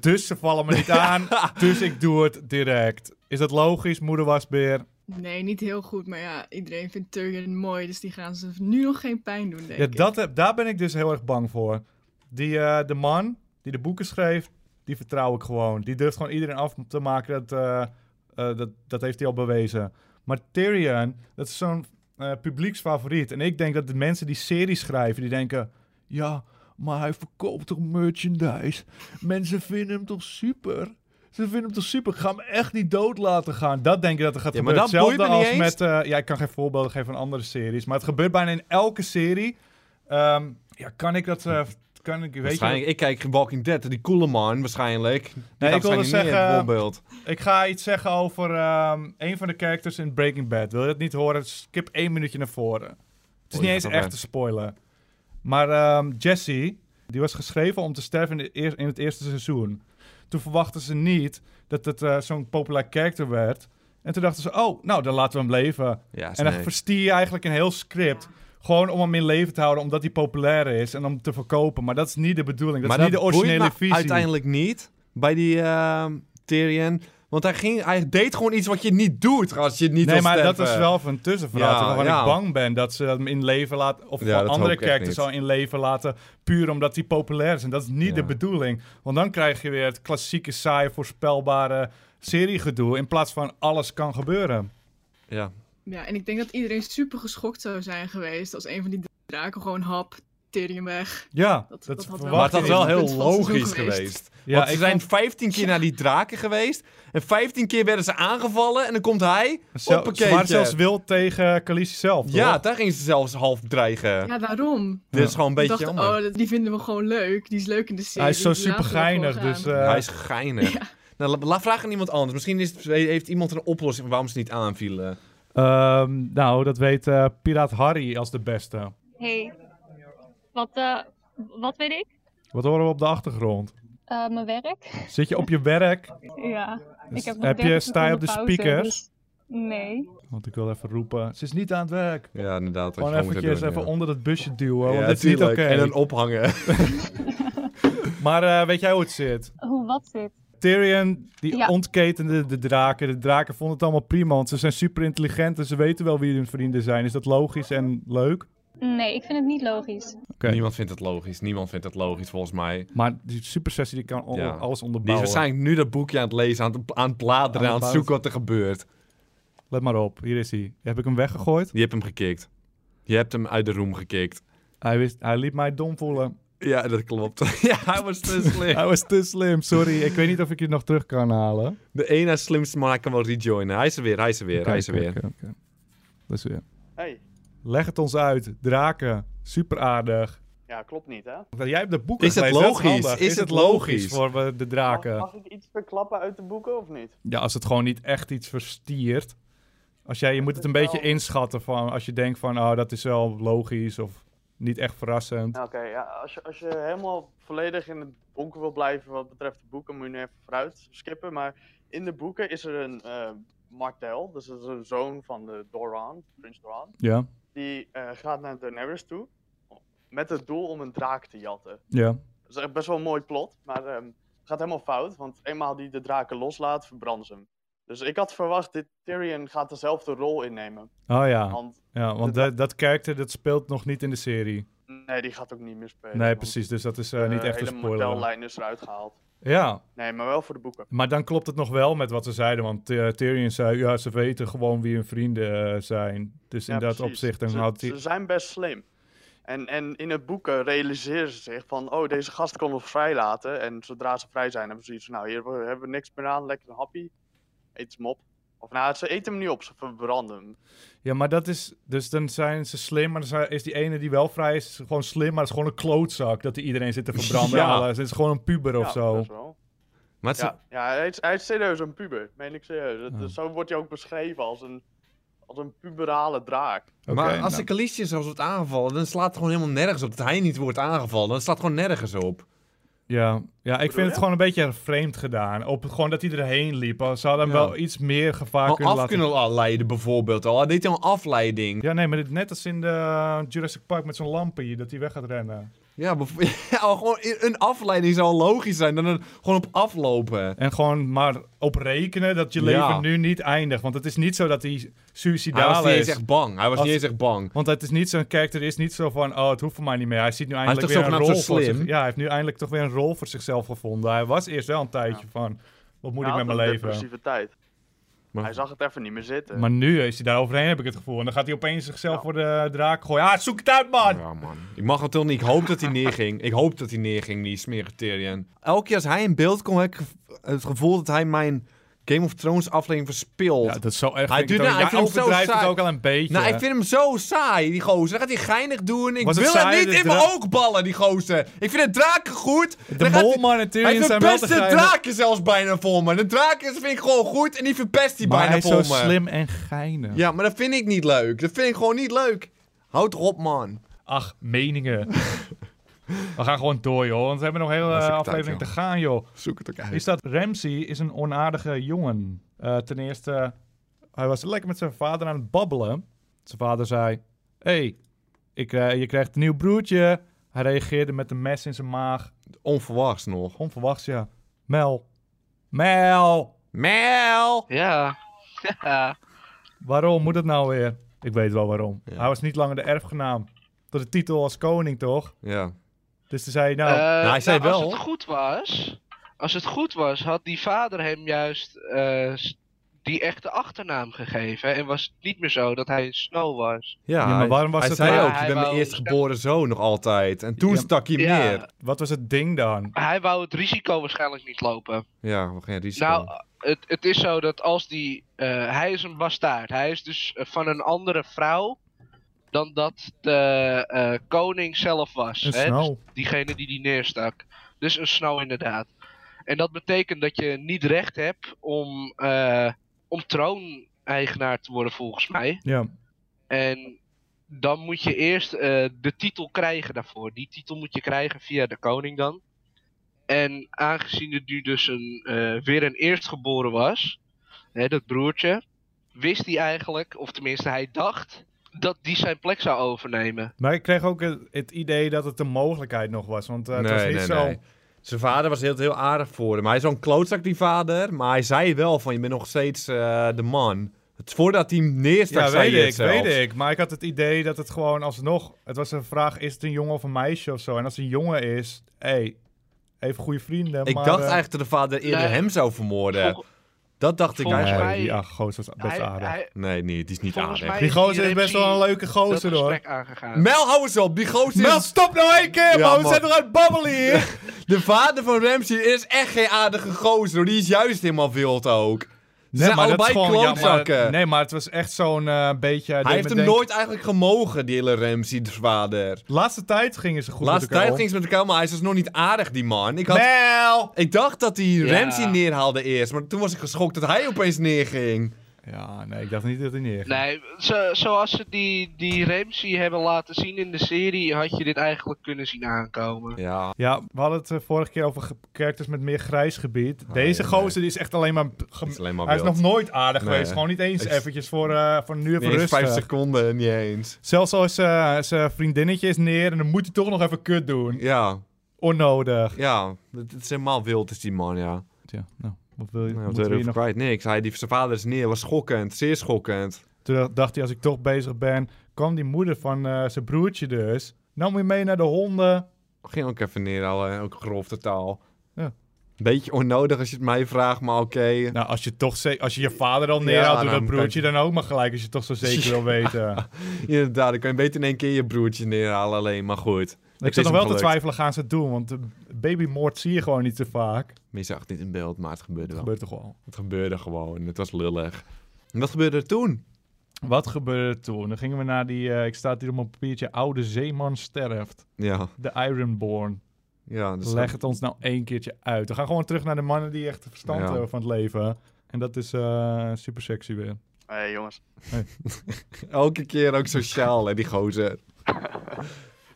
A: Dus ze vallen me niet aan. Dus ik doe het direct. Is dat logisch, moeder wasbeer?
E: Nee, niet heel goed. Maar ja, iedereen vindt Tyrion mooi. Dus die gaan ze nu nog geen pijn doen, denk
A: Ja,
E: ik.
A: dat, heb- daar ben ik dus heel erg bang voor. Die, eh, de man die de boeken schreef, die vertrouw ik gewoon. Die durft gewoon iedereen af te maken. Dat, eh, eh, dat, dat heeft hij al bewezen. Maar Tyrion, dat is zo'n eh, publieksfavoriet. En ik denk dat de mensen die series schrijven, die denken... Ja, maar hij verkoopt toch merchandise? Mensen vinden hem toch super? Ze vinden hem toch super? Ik ga hem echt niet dood laten gaan. Dat denk ik dat er gaat
B: Ja, maar
A: gebeuren.
B: dat boeit
A: Hetzelfde
B: me niet
A: als
B: eens.
A: met... eh, ja, ik kan geen voorbeelden geven van andere series. Maar het gebeurt bijna in elke serie. Ehm, ja, kan ik dat... eh, kan ik, weet je,
B: Waarschijnlijk, ik kijk Walking Dead, die coole man waarschijnlijk. Die
A: Nee,
B: gaat
A: ik wilde
B: waarschijnlijk neer,
A: zeggen,
B: bijvoorbeeld.
A: Ik ga iets zeggen over ehm een van de characters in Breaking Bad. Wil je dat niet horen? Skip één minuutje naar voren. Het is
B: Oh,
A: niet
B: je
A: eens
B: gaat al
A: echt te spoilen. Maar ehm, Jesse, die was geschreven om te sterven in, de eer- in het eerste seizoen. Toen verwachtten ze niet dat het eh, zo'n populair character werd. En toen dachten ze, oh, nou, dan laten we hem leven.
B: Ja,
A: En dan
B: sneu.
A: verstier je eigenlijk een heel script. Gewoon om hem in leven te houden, omdat hij populair is. En om hem te verkopen. Maar dat is niet de bedoeling. Dat
B: maar
A: is niet
B: dat
A: de originele
B: boeit me
A: visie.
B: uiteindelijk niet bij die ehm Tyrion. Want hij, ging, hij deed gewoon iets wat je niet doet als je het niet
A: nee,
B: wil
A: maar dat
B: sterven.
A: is wel een tussenverhaal.
B: Ja,
A: toch? waarvan
B: ja.
A: ik bang ben dat ze hem in leven laten. Of
B: Ja,
A: van
B: dat
A: andere
B: hoop ik echt
A: characters
B: niet.
A: al in leven laten. Puur omdat hij populair is. En dat is niet
B: Ja.
A: de bedoeling. Want dan krijg je weer het klassieke, saaie, voorspelbare seriegedoe. In plaats van alles kan gebeuren.
B: Ja.
E: Ja, en ik denk dat iedereen super geschokt zou zijn geweest als een van die draken gewoon hap, Tyrion weg.
A: Ja, dat,
E: Dat- dat had wel-
A: verwacht
B: Maar dat
A: ik
B: is wel
A: niet.
E: Het
B: heel
E: punt van het
B: logisch
E: seizoen
B: geweest.
E: geweest.
A: Ja,
B: Want ze
A: ik
B: zijn
A: vond-
B: 15 keer naar die draken geweest. En 15 keer werden ze aangevallen. En dan komt hij.
A: Ze-
B: Hoppakeetje.
A: Ze waren zelfs wild tegen Khaleesi zelf,
B: Ja,
A: toch?
B: daar gingen ze zelfs half dreigen.
E: Ja, daarom.
B: Dit is gewoon een
E: Ik
B: beetje
E: dacht,
B: jammer.
E: oh, dat- die vinden we gewoon leuk. Die is leuk in de serie.
A: Hij is zo
E: die laten
A: super
E: we
A: geinig.
E: gewoon
A: Dus,
E: gaan.
A: eh,
B: Hij is geinig.
E: Ja.
B: Nou, la, la- vraag aan iemand anders. Misschien is, heeft iemand een oplossing voor waarom ze niet aanvielen.
A: ehm, nou, dat weet eh, Piraat Harry als de beste.
I: Hey, wat, eh, wat weet ik?
A: Wat horen we op de achtergrond?
I: Eh, mijn werk?
A: Zit je op je werk?
I: Ja.
A: Dus
I: ik heb nog
A: heb je
I: 30
A: sta je op de
I: seconden pauze,
A: speakers?
I: dus Nee.
A: Want ik wil even roepen. Ze is niet aan het werk.
B: Ja, inderdaad.
A: Gewoon eventjes even onder het busje duwen. want
B: Ja,
A: dit is niet oké.
B: tuurlijk. En dan ophangen.
A: Maar eh, weet jij hoe het zit?
I: Hoe wat zit?
A: Tyrion, die
I: Ja.
A: ontketende de draken. De draken vonden het allemaal prima. Want ze zijn super intelligent en ze weten wel wie hun vrienden zijn. Is dat logisch en leuk?
I: Nee, ik vind het niet logisch.
A: Oké.
B: Niemand vindt het logisch. Niemand vindt het logisch, volgens mij. Die
A: Maar die supersessie die kan al-
B: Ja.
A: alles
B: is
A: onderbouwen.
B: waarschijnlijk nu dat boekje aan het lezen, aan het, aan het bladeren,
A: Aan
B: aan
A: het
B: het zoeken wat er gebeurt.
A: Let maar op, hier is hij. Heb ik hem weggegooid?
B: Je hebt hem gekikt. Je hebt hem uit de room gekikt.
A: Hij, wist, hij liet mij dom voelen.
B: Ja, dat klopt. ja, hij was te slim.
A: Hij was te slim, sorry. Ik weet niet of ik je nog terug kan halen.
B: De ene slimste man, hij kan wel rejoinen. Hij is er weer, hij is er weer, hij is er weer.
A: Oké, oké, oké. Dat is weer.
F: Hey.
A: Leg het ons uit. Draken, super aardig.
F: Ja, klopt niet, hè?
A: Want Jij hebt de boeken
B: Is het
A: gelezen, dat
B: logisch?
A: handig.
B: Is het logisch?
A: voor eh, de
F: Mag,
A: draken?
F: mag ik iets verklappen uit de boeken of niet?
A: Ja, als het gewoon niet echt iets verstiert. Als jij, je moet het een beetje inschatten van als je denkt van, oh, dat is wel logisch of niet echt verrassend.
F: Nou, Oké, ja, als, je, als je helemaal volledig in het donker wil blijven wat betreft de boeken, moet je nu even vooruit skippen. Maar in de boeken is er een eh, Martel, dus dat is een zoon van de Doran, Prins Doran.
A: Ja,
F: Die eh, gaat naar Daenerys toe met het doel om een draak te jatten.
A: ja.
F: Dat is echt best wel een mooi plot, maar ehm, het gaat helemaal fout. Want eenmaal die de draken loslaat, verbranden ze hem. Dus ik had verwacht, dit Tyrion gaat dezelfde rol innemen.
A: Oh ja,
F: Want
A: ja want dat, dat karakter dat speelt nog niet in de serie.
F: nee, die gaat ook niet meer spelen.
A: Nee,
F: want,
A: precies, dus dat is eh, niet
F: eh,
A: echt een
F: hele
A: spoiler.
F: modellijn is eruit gehaald.
A: Ja,
F: Nee, maar wel voor de boeken.
A: maar dan klopt het nog wel met wat ze zeiden, want eh, Tyrion zei, ja, ze weten gewoon wie hun vrienden eh, zijn. Dus
F: Ja,
A: in dat
F: precies.
A: opzicht, dan
F: ze,
A: houdt hij...
F: ze zijn best slim. En, en in het boeken realiseren ze zich van, oh, deze gast kon nog vrijlaten. En zodra ze vrij zijn, hebben ze iets van, nou, hier hebben we- hebben we niks meer aan, lekker een happy. Eet hem op. Of nou, ze eten hem niet op, ze verbranden hem.
A: Ja, maar dat is. Dus dan zijn ze slim, maar dan zijn- is die ene die wel vrij is gewoon slim, maar het is gewoon een klootzak dat hij iedereen zit te verbranden.
B: Ja.
A: en alles. Het is gewoon een puber of
F: ja,
A: zo.
F: best wel.
B: Maar het is-
F: Ja, ja hij, is, hij is serieus een puber, meen ik serieus. Dat- dat- Zo wordt hij ook beschreven als een, als een puberale draak.
B: maar
A: Oké,
B: als
A: nou.
B: de Callistius zo wordt aangevallen, dan slaat het gewoon helemaal nergens op. Dat hij niet wordt aangevallen, dan slaat het gewoon nergens op.
A: Ja, ja, ik vind
F: je?
A: het gewoon een beetje vreemd gedaan. Op, gewoon dat hij erheen liep. Ze hadden hem
B: Ja.
A: wel iets meer gevaar
B: Al
A: kunnen
B: af
A: laten.
B: kunnen leiden bijvoorbeeld al. Hij deed al een afleiding.
A: Ja, nee, maar dit, net als in de eh, Jurassic Park met zo'n lampje hier, dat hij weg gaat rennen.
B: Ja, bev- ja, gewoon i- een afleiding zou logisch zijn dan een, gewoon op aflopen.
A: En gewoon maar op rekenen dat je leven
B: Ja.
A: nu niet eindigt. Want het is niet zo dat hij
B: Hij was
A: suicidaal
B: niet eens
A: is.
B: echt bang. Hij was
A: Als-
B: niet eens echt bang.
A: Want het is niet zo'n karakter, is niet zo van, oh, het hoeft voor mij niet meer. Hij ziet nu
B: is
A: eindelijk
B: toch
A: weer een rol
B: zogenaamd zo
A: voor
B: slim?
A: zich. Ja, hij heeft nu eindelijk toch weer een rol voor zichzelf gevonden. Hij was eerst wel een tijdje van, wat moet
F: Hij
A: ik met
F: had
A: mijn
F: een
A: leven?
F: depressieve tijd.
B: Maar-
F: Hij zag het even niet meer zitten.
A: Maar nu is hij daar overheen, heb ik het gevoel. En dan gaat hij opeens zichzelf
F: eh. Ja.
A: voor de draak gooien. Ah, zoek het uit, man!
B: Ja, man. Ik mag het toch niet. Ik hoop dat hij neerging. Ik hoop dat hij neerging, die smerige Tyrion. Elke keer als hij in beeld komt, heb ik gev- het gevoel dat hij mijn Game of Thrones aflevering verspilt.
A: Ja, dat is zo erg.
B: Hij
A: vind ik
B: doet-
A: het ook.
B: nou, ik
A: Jij
B: vind hem zo
A: overdrijft het
B: saai.
A: ook al een beetje.
B: nou, ik vind hem zo saai, die gozer. Dan gaat hij geinig doen. Ik
A: Was het
B: wil het
A: saai,
B: niet
A: de
B: in mijn
A: dra-
B: oogballen, die gozer. Ik vind het draken goed.
A: de
B: Dan gaat hij-
A: molman en
B: Hij
A: Tyrion zijn wel
B: verpest
A: te
B: de
A: grijpen.
B: draken zelfs bijna voor me. De draken vind ik gewoon goed en die verpest hij
A: Maar
B: bijna
A: hij is
B: voor me.
A: zo slim en geinig.
B: Ja, maar dat vind ik niet leuk. Dat vind ik gewoon niet leuk. Houd toch op, man.
A: Ach, meningen. We gaan gewoon door, joh. Want we hebben nog een hele
B: is ook
A: eh,
B: tijd,
A: aflevering te
B: joh.
A: gaan, joh.
B: Zoek het ook uit.
A: is dat Ramsey is een onaardige jongen. Eh, ten eerste, hij was lekker met zijn vader aan het babbelen. Zijn vader zei, hey, ik, eh, je krijgt een nieuw broertje. Hij reageerde met een mes in zijn maag.
B: Onverwachts nog.
A: Onverwachts, ja. Mel. Mel!
B: Mel!
D: Ja. Eh, Ja.
A: Waarom moet het nou weer? Ik weet wel waarom. Hij was niet langer de erfgenaam. Tot de titel als koning, toch?
B: Ja.
A: Dus toen zei hij, nou...
D: Eh,
B: Oh. hij zei
D: nou,
B: wel.
D: Als het goed was, als het goed was, had die vader hem juist eh, s- die echte achternaam gegeven. En was het niet meer zo dat hij Snow was.
B: Ja,
A: Ja, maar waarom was
B: hij
A: dat
B: zei
D: dan-
B: ook,
D: Hij
B: ik ben mijn
D: wou-
B: eerstgeboren zoon nog altijd. En toen
A: Ja.
B: stak hij
D: Ja.
B: meer.
A: Wat was het ding dan?
D: Hij wou het risico waarschijnlijk niet lopen.
B: Ja, we geen risico.
D: Nou, het, het is zo dat als die. eh, hij is een bastaard. Hij is dus eh, van een andere vrouw. dan dat de eh, koning zelf was.
A: Een
D: hè?
A: snow.
D: Dus diegene die die neerstak. Dus een snow, inderdaad. En dat betekent dat je niet recht hebt om. eh, om trooneigenaar te worden, volgens mij.
A: Ja.
D: En. Dan moet je eerst eh, de titel krijgen daarvoor. Die titel moet je krijgen via de koning dan. En aangezien het nu dus een, eh, weer een eerstgeboren was, hè, dat broertje, wist hij eigenlijk, of tenminste hij dacht, dat die zijn plek zou overnemen.
A: Maar ik kreeg ook het, het idee dat het een mogelijkheid nog was. Want eh, het was niet zo...
B: Zijn vader was heel, heel aardig voor hem. Hij is zo'n klootzak, die vader. Maar hij zei wel van, je bent nog steeds eh, de man. Het, voordat hij hem neerstak,
A: Ja,
B: zei
A: weet
B: hij het
A: ik,
B: zelfs.
A: weet ik. Maar ik had het idee dat het gewoon alsnog... Het was een vraag, is het een jongen of een meisje of zo? En als het een jongen is, hé, hey, even goede vrienden.
B: Ik
A: maar,
B: dacht
A: eh,
B: eigenlijk dat de vader eerder
D: Nee.
B: hem zou vermoorden.
D: Vol-
B: Dat dacht ik
D: Volgens
A: Nee,
B: eigenlijk.
D: mij-
A: die ach, gozer was best
D: hij-
A: aardig.
D: hij-
B: Nee, nee, die is niet
D: volgens
B: aardig.
D: mij
A: die gozer is
D: Ramsey
A: best wel een leuke
D: dat
A: gozer, hoor.
D: gesprek aangegaan.
B: Mel, hou eens op. Die gozer
A: Mel,
B: is...
A: stop nou één keer,
B: Ja,
A: man. We
B: man.
A: zijn er aan het babbelen hier.
B: De vader van Ramsey is echt geen aardige gozer. hoor. Die is juist helemaal wild ook. Ze zijn allebei klootzakken.
A: nee, maar het was echt zo'n eh, beetje... deed
B: Hij
A: me
B: heeft hem
A: denken-
B: nooit eigenlijk gemogen, die hele Ramsey, de vader.
A: Laatste tijd gingen ze goed
B: Laatste
A: met elkaar
B: tijd
A: om.
B: ging ze met elkaar, maar hij is dus nog niet aardig, die man. Ik, had,
A: Mel!
B: ik dacht dat hij
D: Ja.
B: Ramsey neerhaalde eerst, maar toen was ik geschokt dat hij opeens neerging.
A: Ja, nee, ik dacht niet dat hij neer.
D: Nee, zo, zoals ze die, die Ramsey hebben laten zien in de serie, had je dit eigenlijk kunnen zien aankomen.
B: Ja.
A: Ja, we hadden het eh, vorige keer over ge- characters met meer grijs gebied. Deze
B: Ah, nee,
A: gozer die is echt alleen maar... ge-
B: Het is alleen maar
A: hij is
B: wild.
A: nog nooit aardig
B: Nee.
A: geweest. Gewoon niet eens
B: Ik-
A: eventjes voor, eh, voor nu even
B: Niet eens vijf
A: rustig.
B: seconden, niet eens.
A: Zelfs als eh, zijn vriendinnetje is neer en dan moet hij toch nog even kut doen.
B: Ja,
A: Onnodig.
B: ja. Het, het is helemaal wild, is die man, ja.
A: Ja, nou, wat wil je?
B: Nou,
A: moeten
B: wat
A: we
B: er
A: hier nog...
B: kwijt? Niks. Hij, die, zijn vader is neer, was schokkend. Zeer schokkend.
A: Toen dacht hij, als ik toch bezig ben, kwam die moeder van eh, zijn broertje dus. Nam hij mee naar de honden.
B: Ging ook even neer, al, eh, ook grove taal.
A: Ja.
B: Beetje onnodig als je het mij vraagt, maar oké.
A: Nou, als je toch ze- als je je vader al neer
B: Ja,
A: had, doe
B: nou,
A: dat
B: dan
A: broertje
B: kan
A: dan ook maar gelijk als je het toch zo zeker wil weten.
B: Inderdaad, dan kan je beter in één keer je broertje neerhalen alleen, maar goed.
A: ik
B: Het
A: zat
B: is
A: nog wel
B: hem
A: te
B: gelukt.
A: twijfelen, gaan ze het doen? Want eh, babymoord zie je gewoon niet te vaak.
B: Meer zag het niet in beeld, maar het
A: Dat
B: gebeurde wel.
A: gebeurt toch wel.
B: Het gebeurde gewoon, het was lullig. En wat gebeurde er toen?
A: Wat gebeurde er toen? Dan gingen we naar die, eh, ik sta het hier op mijn papiertje, oude zeeman sterft.
B: Ja,
A: De Ironborn.
B: ja. Dus
A: Leg het ons nou één keertje uit. We gaan gewoon terug naar de mannen die echt verstand
B: Ja.
A: hebben van het leven. En dat is eh, super sexy weer.
F: Hé hey, jongens.
B: Elke keer ook sociaal, hè, die gozer.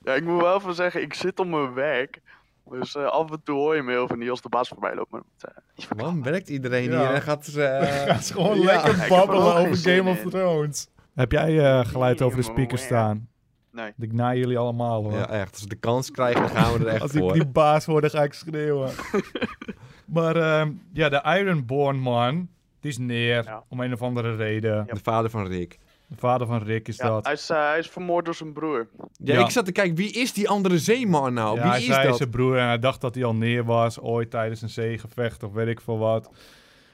F: Ja, ik moet wel even zeggen, ik zit op mijn werk. Dus eh, af en toe hoor je me heel van die als de baas voorbij loopt. Maar, eh,
B: Man, werkt iedereen
A: Ja.
B: hier en gaat ze... eh,
A: is gewoon
B: Ja. lekker
F: Ik heb er babbelen ook over geen Game zin of in.
A: Thrones. Heb jij eh, geluid over de speakers staan?
F: Nee.
A: Ik naai jullie allemaal hoor.
B: ja, echt. Als we de kans krijgen, dan gaan we er echt
A: Als ik
B: voor.
A: die baas hoor, dan ga ik schreeuwen. maar ehm, ja, de Ironborn man, die is neer.
F: Ja.
A: Om een of andere reden.
B: De vader van Rick.
A: De vader van Rick is
F: ja,
A: dat.
F: hij, is, eh, hij is vermoord door zijn broer.
B: Ja,
A: Ja.
B: ik zat te kijken, wie is die andere zeeman nou?
A: ja,
B: wie
A: hij
B: is
A: zei
B: dat?
A: zijn broer en hij dacht dat hij al neer was. Ooit tijdens een zeegevecht of weet ik veel wat.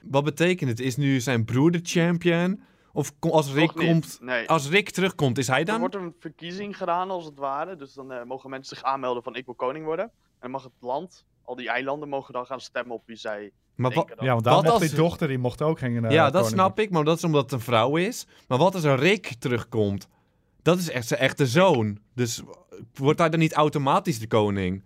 B: Wat betekent het? Is nu zijn broer de champion? Of ko- als Rick,
F: Nog niet.
B: komt,
F: Nee.
A: Oh,
B: als Rick terugkomt, is hij
F: Er
B: dan?
F: wordt een verkiezing gedaan, als het ware. Dus dan eh, mogen mensen zich aanmelden van ik wil koning worden. En dan mag het land, al die eilanden, mogen dan gaan stemmen op wie zij
B: Maar wa-
F: denken. Dat.
A: Ja, want daar
B: Wat
A: mocht
B: als-
A: die dochter, die mocht ook geen eh,
B: ja, dat
A: koning
B: snap ik, maar dat is omdat het een vrouw is. Maar wat als er Rick terugkomt? Dat is echt zijn echte zoon. Dus w- wordt hij dan niet automatisch de koning?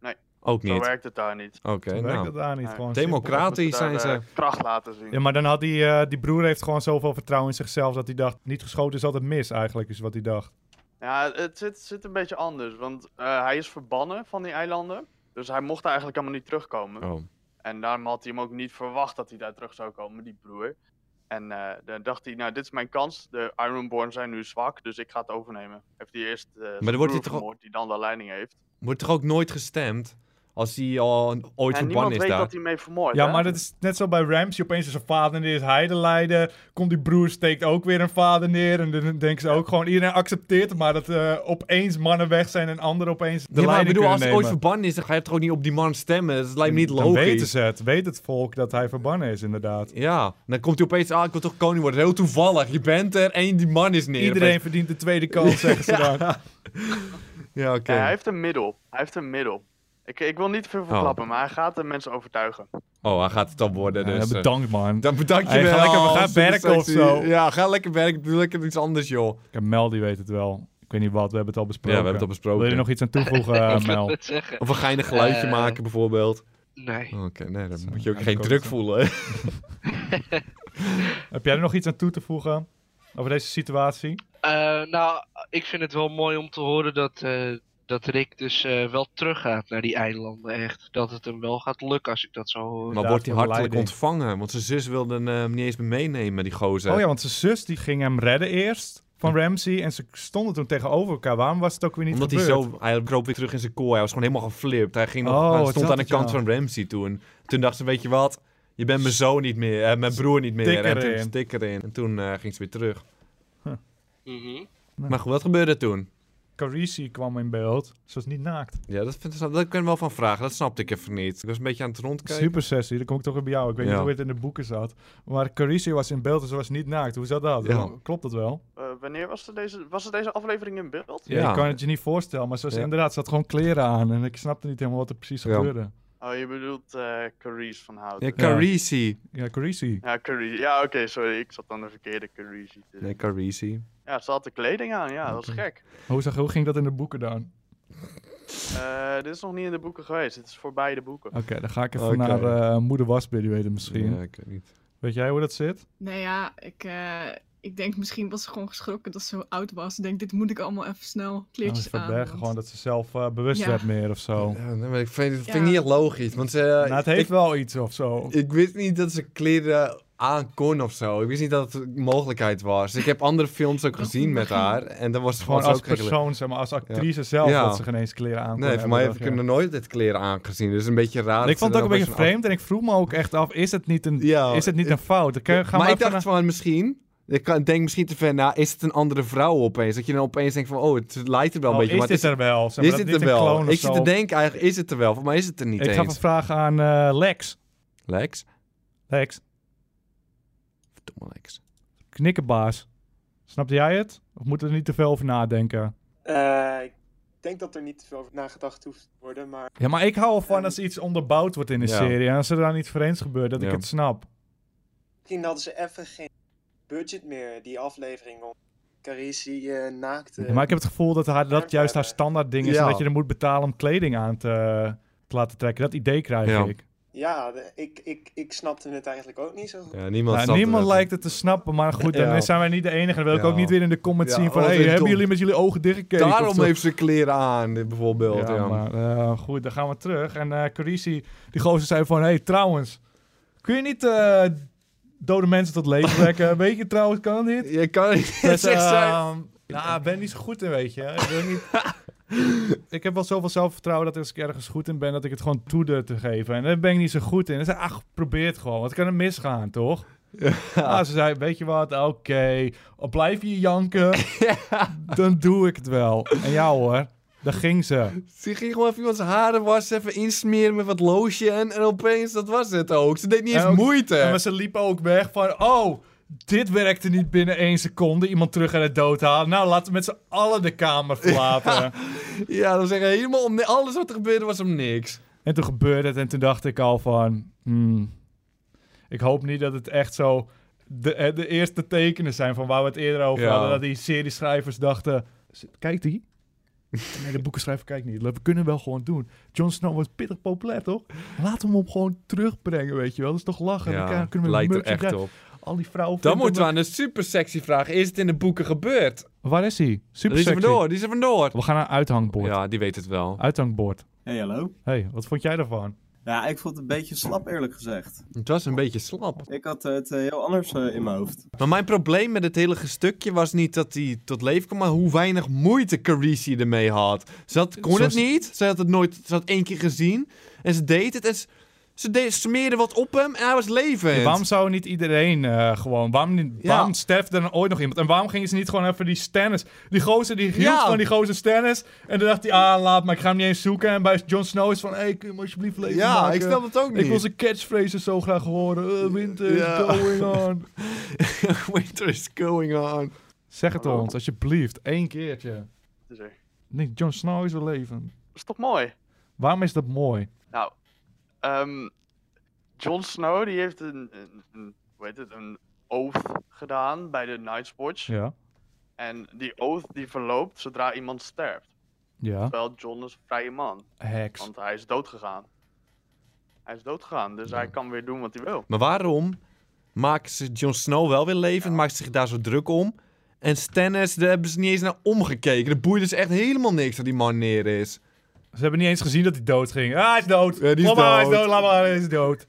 F: Nee.
B: Ook
F: Zo
B: niet.
F: werkt het daar niet.
B: Oké,
A: worden. Werkt
B: nou.
A: dat daar niet?
F: Nee.
A: Gewoon simpel.
B: Democratisch
F: Daar
B: zijn ze.
F: de kracht laten zien.
A: Ja, maar dan had die, eh, die broer heeft gewoon zoveel vertrouwen in zichzelf dat hij dacht, niet geschoten is altijd mis eigenlijk, is wat hij dacht.
F: Ja, het zit, zit een beetje anders. Want eh, hij is verbannen van die eilanden. Dus hij mocht daar eigenlijk helemaal niet terugkomen.
B: Oh.
F: En daarom had hij hem ook niet verwacht dat hij daar terug zou komen, die broer. En eh, dan dacht hij, nou, dit is mijn kans. De Ironborn zijn nu zwak, dus ik ga het overnemen. Heeft hij eerst eh zijn
B: dan wordt
F: broer
B: hij toch al-
F: vermoord, die dan de leiding heeft.
B: Wordt toch ook nooit gestemd? Als hij al ooit
F: en
B: verbannen
F: niemand
B: is
F: weet
B: daar.
F: dat hij mee vermoord
A: Ja,
F: hè?
A: maar dat is net zo bij Ramsey. Opeens is zijn vader neer, is hij de leider. Komt die broer, steekt ook weer een vader neer. En dan denken ze ook gewoon, iedereen accepteert het. Maar dat eh, opeens mannen weg zijn en anderen opeens de
B: Ja, maar ik
A: leiding
B: bedoel, als
A: kunnen
B: hij ooit
A: nemen.
B: verbannen is, dan ga je toch ook niet op die man stemmen. Dat lijkt me niet logisch.
A: Dan weten ze het. Weet het volk dat hij verbannen is, inderdaad.
B: Ja, dan komt hij opeens aan, ik wil toch koning worden. Heel toevallig, je bent er en die man is neer.
A: Iedereen verdient de tweede kans, zeggen ze dan.
B: Ja, oké.
F: Ja, hij heeft een middel. Hij heeft een middel. Ik, ik wil niet te veel verklappen, maar hij gaat de mensen overtuigen.
B: Oh, hij gaat het dan worden,
A: Ja,
B: dus... eh,
A: bedankt, man.
B: Dan bedank je
A: Hey, ga
B: wel.
A: lekker- we gaan
B: super
A: werken of
B: sexy.
A: zo.
B: Ja, ga lekker werken. Doe lekker iets anders, joh.
A: Kijk, Mel, die weet het wel. Ik weet niet wat, we hebben het al besproken.
B: al besproken.
A: Wil je er nog iets aan toevoegen, eh,
D: ik wil
A: Mel?
D: het zeggen.
B: Of een geinig geluidje
D: Eh.
B: maken, bijvoorbeeld.
D: Nee.
B: Oké, nee, dan
A: Zo,
B: moet je ook
A: ja,
B: geen
A: dat
B: druk
A: komt,
B: voelen.
A: Heb jij er nog iets aan toe te voegen over deze situatie?
D: Eh, nou, ik vind het wel mooi om te horen dat, eh, dat Rick dus eh, wel teruggaat naar die eilanden echt. Dat het hem wel gaat lukken als ik dat zo hoor.
B: Maar
A: Inderdaad,
B: wordt hij
A: voor de
B: hartelijk
A: leiding.
B: ontvangen? Want zijn zus wilde hem eh, niet eens meer meenemen, die gozer.
A: Oh ja, want zijn zus die ging hem redden eerst van Ramsey. En ze stonden toen tegenover elkaar. Waarom was het ook weer niet
B: Omdat
A: gebeurd?
B: hij zo... Hij kroop weer terug in zijn kooi. Hij was gewoon helemaal geflipt. Hij, ging nog,
A: Oh,
B: hij
A: het
B: stond
A: had
B: aan de
A: het, ja.
B: kant van Ramsey toen. Toen dacht ze, weet je wat? Je bent mijn zoon niet meer. eh, mijn broer niet meer.
A: Stik
B: en toen
A: erin.
B: stik erin. En toen eh, ging ze weer terug.
D: Mhm.
B: Maar goed, wat gebeurde er toen?
A: Carisi kwam in beeld. Ze was niet naakt.
B: Ja, dat, vind, dat kan ik wel van vragen. Dat snapte ik even niet. Ik was een beetje aan het rondkijken.
A: Super sessie, dan kom ik toch weer bij jou. Ik weet
B: Ja.
A: niet hoe het in de boeken zat. Maar Carisi was in beeld en ze was niet naakt. Hoe zat dat?
B: Ja.
A: Nou, Klopt dat wel?
F: Eh, wanneer was er, deze, was er deze aflevering in beeld?
A: Ja.
B: Ja.
A: Ik kan het je niet voorstellen, maar ze was
B: Ja.
A: inderdaad, ze had gewoon kleren aan. En ik snapte niet helemaal wat er precies
B: Ja.
A: gebeurde.
F: Oh, je bedoelt eh Carice van Houten.
B: Ja, Carisi.
A: Ja, Carisi.
F: Ja, Carice. Ja, oké, sorry. Ik zat aan de verkeerde Carice. te-
B: Nee, Carisi.
F: Ja, ze had de kleding aan. Ja, dat was gek.
A: Hoe, zag, hoe ging dat in de boeken dan?
F: Eh, dit is nog niet in de
A: Oh.
F: boeken geweest. Dit is voorbij de boeken.
A: Oké, dan ga ik even
B: Oké.
A: naar eh, Moeder Wasbeer, die weet het misschien.
B: Ja, ik weet niet.
A: Weet Weet jij hoe dat zit?
E: Nou ja, ik, eh, ik denk misschien was ze gewoon geschrokken dat ze zo oud was. Ik denk, dit moet ik allemaal even snel
A: Nou,
E: kleertjes
A: ze
E: aan.
A: verbergen
E: want-
A: gewoon dat ze zelf eh, bewust
E: Ja.
A: werd meer of zo.
B: Ja, nee, maar ik vind, vind ik
E: Ja.
B: niet echt logisch. Want ze,
A: Nou, het heeft
B: Eh, ik,
A: wel iets of zo.
B: ik wist niet dat ze kleren aan kon of zo. Ik wist niet dat het een mogelijkheid was. Ik heb andere films ook
E: Dat
B: gezien met
E: begrijp
B: haar. En dan was het
A: Gewoon
B: was
A: als
B: ook geen kleren.
A: persoon, zeg maar, als actrice zelf,
B: Ja.
A: dat ze geen eens kleren aan kon
B: Nee, voor
A: hebben,
B: mij
A: dacht
B: heb ik
A: je.
B: er nooit het kleren aangezien. Dus een beetje raar. dat
A: Ik
B: ze
A: vond het
B: er
A: ook
B: nog
A: een beetje
B: best
A: vreemd en ik vroeg me ook echt af, is het niet een,
B: Ja.
A: is het niet een fout? Dan kun- gaan
B: maar
A: we
B: ik
A: even
B: dacht
A: naar-
B: van misschien. Ik kan- denk misschien te ver na. Is het een andere vrouw opeens? Dat je dan opeens denkt van. Oh, het lijkt er wel een
A: Oh,
B: beetje.
A: is
B: maar
A: dit
B: het
A: er wel? Zeg maar,
B: is
A: dat
B: dit
A: niet
B: er
A: een clone
B: wel?
A: of
B: Ik
A: zo?
B: zit te denken eigenlijk. Is het er wel? Voor mij is het er niet
A: Ik ga
B: eens.
A: even vragen aan eh, Lex.
B: Lex?
A: Lex,
B: Verdomme Lex.
A: knikkenbaas. Snapte jij het? Of moeten we er niet te veel over nadenken?
H: Eh, ik denk dat er niet te veel over nagedacht hoeft te worden, maar
A: Ja, maar ik hou ervan als iets onderbouwd wordt in een
B: Ja.
A: serie. En als er dan iets vreemds gebeurt, dat ik
B: Ja.
A: het snap.
H: misschien hadden ze even geen budget meer, die aflevering om Carisi eh, naakt te...
A: Ja, maar ik heb het gevoel dat haar, dat juist haar standaard ding is.
B: Ja.
A: En dat je er moet betalen om kleding aan te, te laten trekken. Dat idee krijg
B: Ja.
A: ik.
H: Ja, de- ik, ik, ik snapte het eigenlijk ook niet zo goed.
B: Ja, niemand
A: Nou,
B: snapt
A: niemand
B: het.
A: lijkt het te snappen. Maar goed, dan
B: Ja.
A: zijn wij niet de enige. Dan wil ik
B: Ja.
A: ook niet weer in de comments
B: Ja,
A: zien van...
B: wat
A: Hey,
B: een
A: hebben
B: dom.
A: jullie met jullie ogen dichtgekeken? of
B: Daarom
A: zo?
B: heeft ze kleren aan, dit bijvoorbeeld. Ja,
A: Ja, maar eh, goed, dan gaan we terug. En eh Carisi, die gozer zei van... hey, trouwens, kun je niet eh, dode mensen tot leven wekken? weet je trouwens, kan dat niet?
B: Je kan niet
A: Dus,
B: echt zijn.
A: ehm, nou, ik ben niet zo goed in, weet je. Ik, wil niet... ik heb wel zoveel zelfvertrouwen dat als ik ergens goed in ben, dat ik het gewoon toe durf te geven. En daar ben ik niet zo goed in. En zei, ach, probeer het gewoon. Wat kan er misgaan, toch? Ah, ze zei, weet je wat, oké, Al blijf je janken, dan doe ik het wel. En ja hoor, daar ging ze.
B: Ze ging gewoon even iemands haren wassen, even insmeren met wat loosje. En, en opeens, dat was het ook. Ze deed niet eens
A: En ook-
B: moeite.
A: En maar ze liepen ook weg van, oh, dit werkte niet binnen één seconde. Iemand terug aan het dood halen. Nou, laten we met z'n allen de kamer verlaten.
B: Ja, dat was echt helemaal om ni- Alles wat er gebeurde was om niks.
A: En toen gebeurde het en toen dacht ik al van... hmm, ik hoop niet dat het echt zo de, eh, de eerste tekenen zijn van waar we het eerder over
B: Ja.
A: hadden. Dat die serieschrijvers dachten... "Z- Kijkt die? Nee, de boekenschrijver kijkt niet. We kunnen wel gewoon doen. Jon Snow was pittig populair, toch? Laten we hem gewoon terugbrengen, weet je wel. Dat is toch lachen. Dan kan- kunnen we
B: lijkt er
A: merchandise-
B: echt op.
A: Al die vrouwen...
B: Dan
A: vinden
B: moeten we
A: we-
B: aan de super sexy vraag. Is het in de boeken gebeurd?
A: Waar is hij?
B: die
A: Super
B: is er
A: sexy.
B: vandoor, die is er vandoor.
A: We gaan naar uithangbord.
B: Ja, die weet het wel.
A: Uithangbord.
J: Hey, hallo.
A: hey, wat vond jij daarvan?
J: Ja, ik vond het een beetje slap eerlijk gezegd.
B: Het was een beetje slap.
J: Ik had eh, het eh, heel anders eh, in mijn hoofd.
B: Maar mijn probleem met het hele gestukje was niet dat hij tot leven kwam, maar hoe weinig moeite Carisi ermee had. Ze had, kon
A: Zoals-
B: het niet, ze had het nooit, ze had één keer gezien en ze deed het en ze, ze deed, smeerde wat op hem en hij was levend.
A: Ja, waarom zou niet iedereen eh, gewoon... Waarom, niet,
B: Ja.
A: waarom sterft er dan ooit nog iemand? En waarom gingen ze niet gewoon even die Stannis... Die gozer die hield
B: Ja.
A: van die gozer Stannis... En dan dacht hij, ah, laat maar, ik ga hem niet eens zoeken. En bij Jon Snow is van, hey, kun je hem alsjeblieft leven
B: ja,
A: maken?
B: ik snap het ook niet.
A: Ik wil zijn catchphrases zo graag horen. Eh, winter is
B: Ja.
A: going on.
B: Winter is going on.
A: Zeg het
F: Hallo?
A: ons, alsjeblieft. Eén keertje.
F: Dus, eh,
A: Nee, Jon Snow is wel leven.
F: is toch mooi?
A: Waarom is dat mooi?
F: Nou, ehm, Jon Snow die heeft een, een, een, hoe heet het, een oath gedaan bij de Night's Watch.
A: Ja.
F: En die oath die verloopt zodra iemand sterft.
A: Ja.
F: Terwijl Jon is een vrije man,
A: Heks.
F: want hij is dood gegaan. Hij is dood gegaan, dus hij kan weer doen wat hij wil.
B: Maar waarom maken ze Jon Snow wel weer levend, maken ze zich daar zo druk om? En Stannis, daar hebben ze niet eens naar omgekeken. Er boeide ze echt helemaal niks dat die man neer is.
A: Ze hebben niet eens gezien dat hij dood ging. Ah, hij is dood.
B: Ja, die is
A: Laat maar, hij is
B: dood.
A: dood. Laat maar, hij is dood.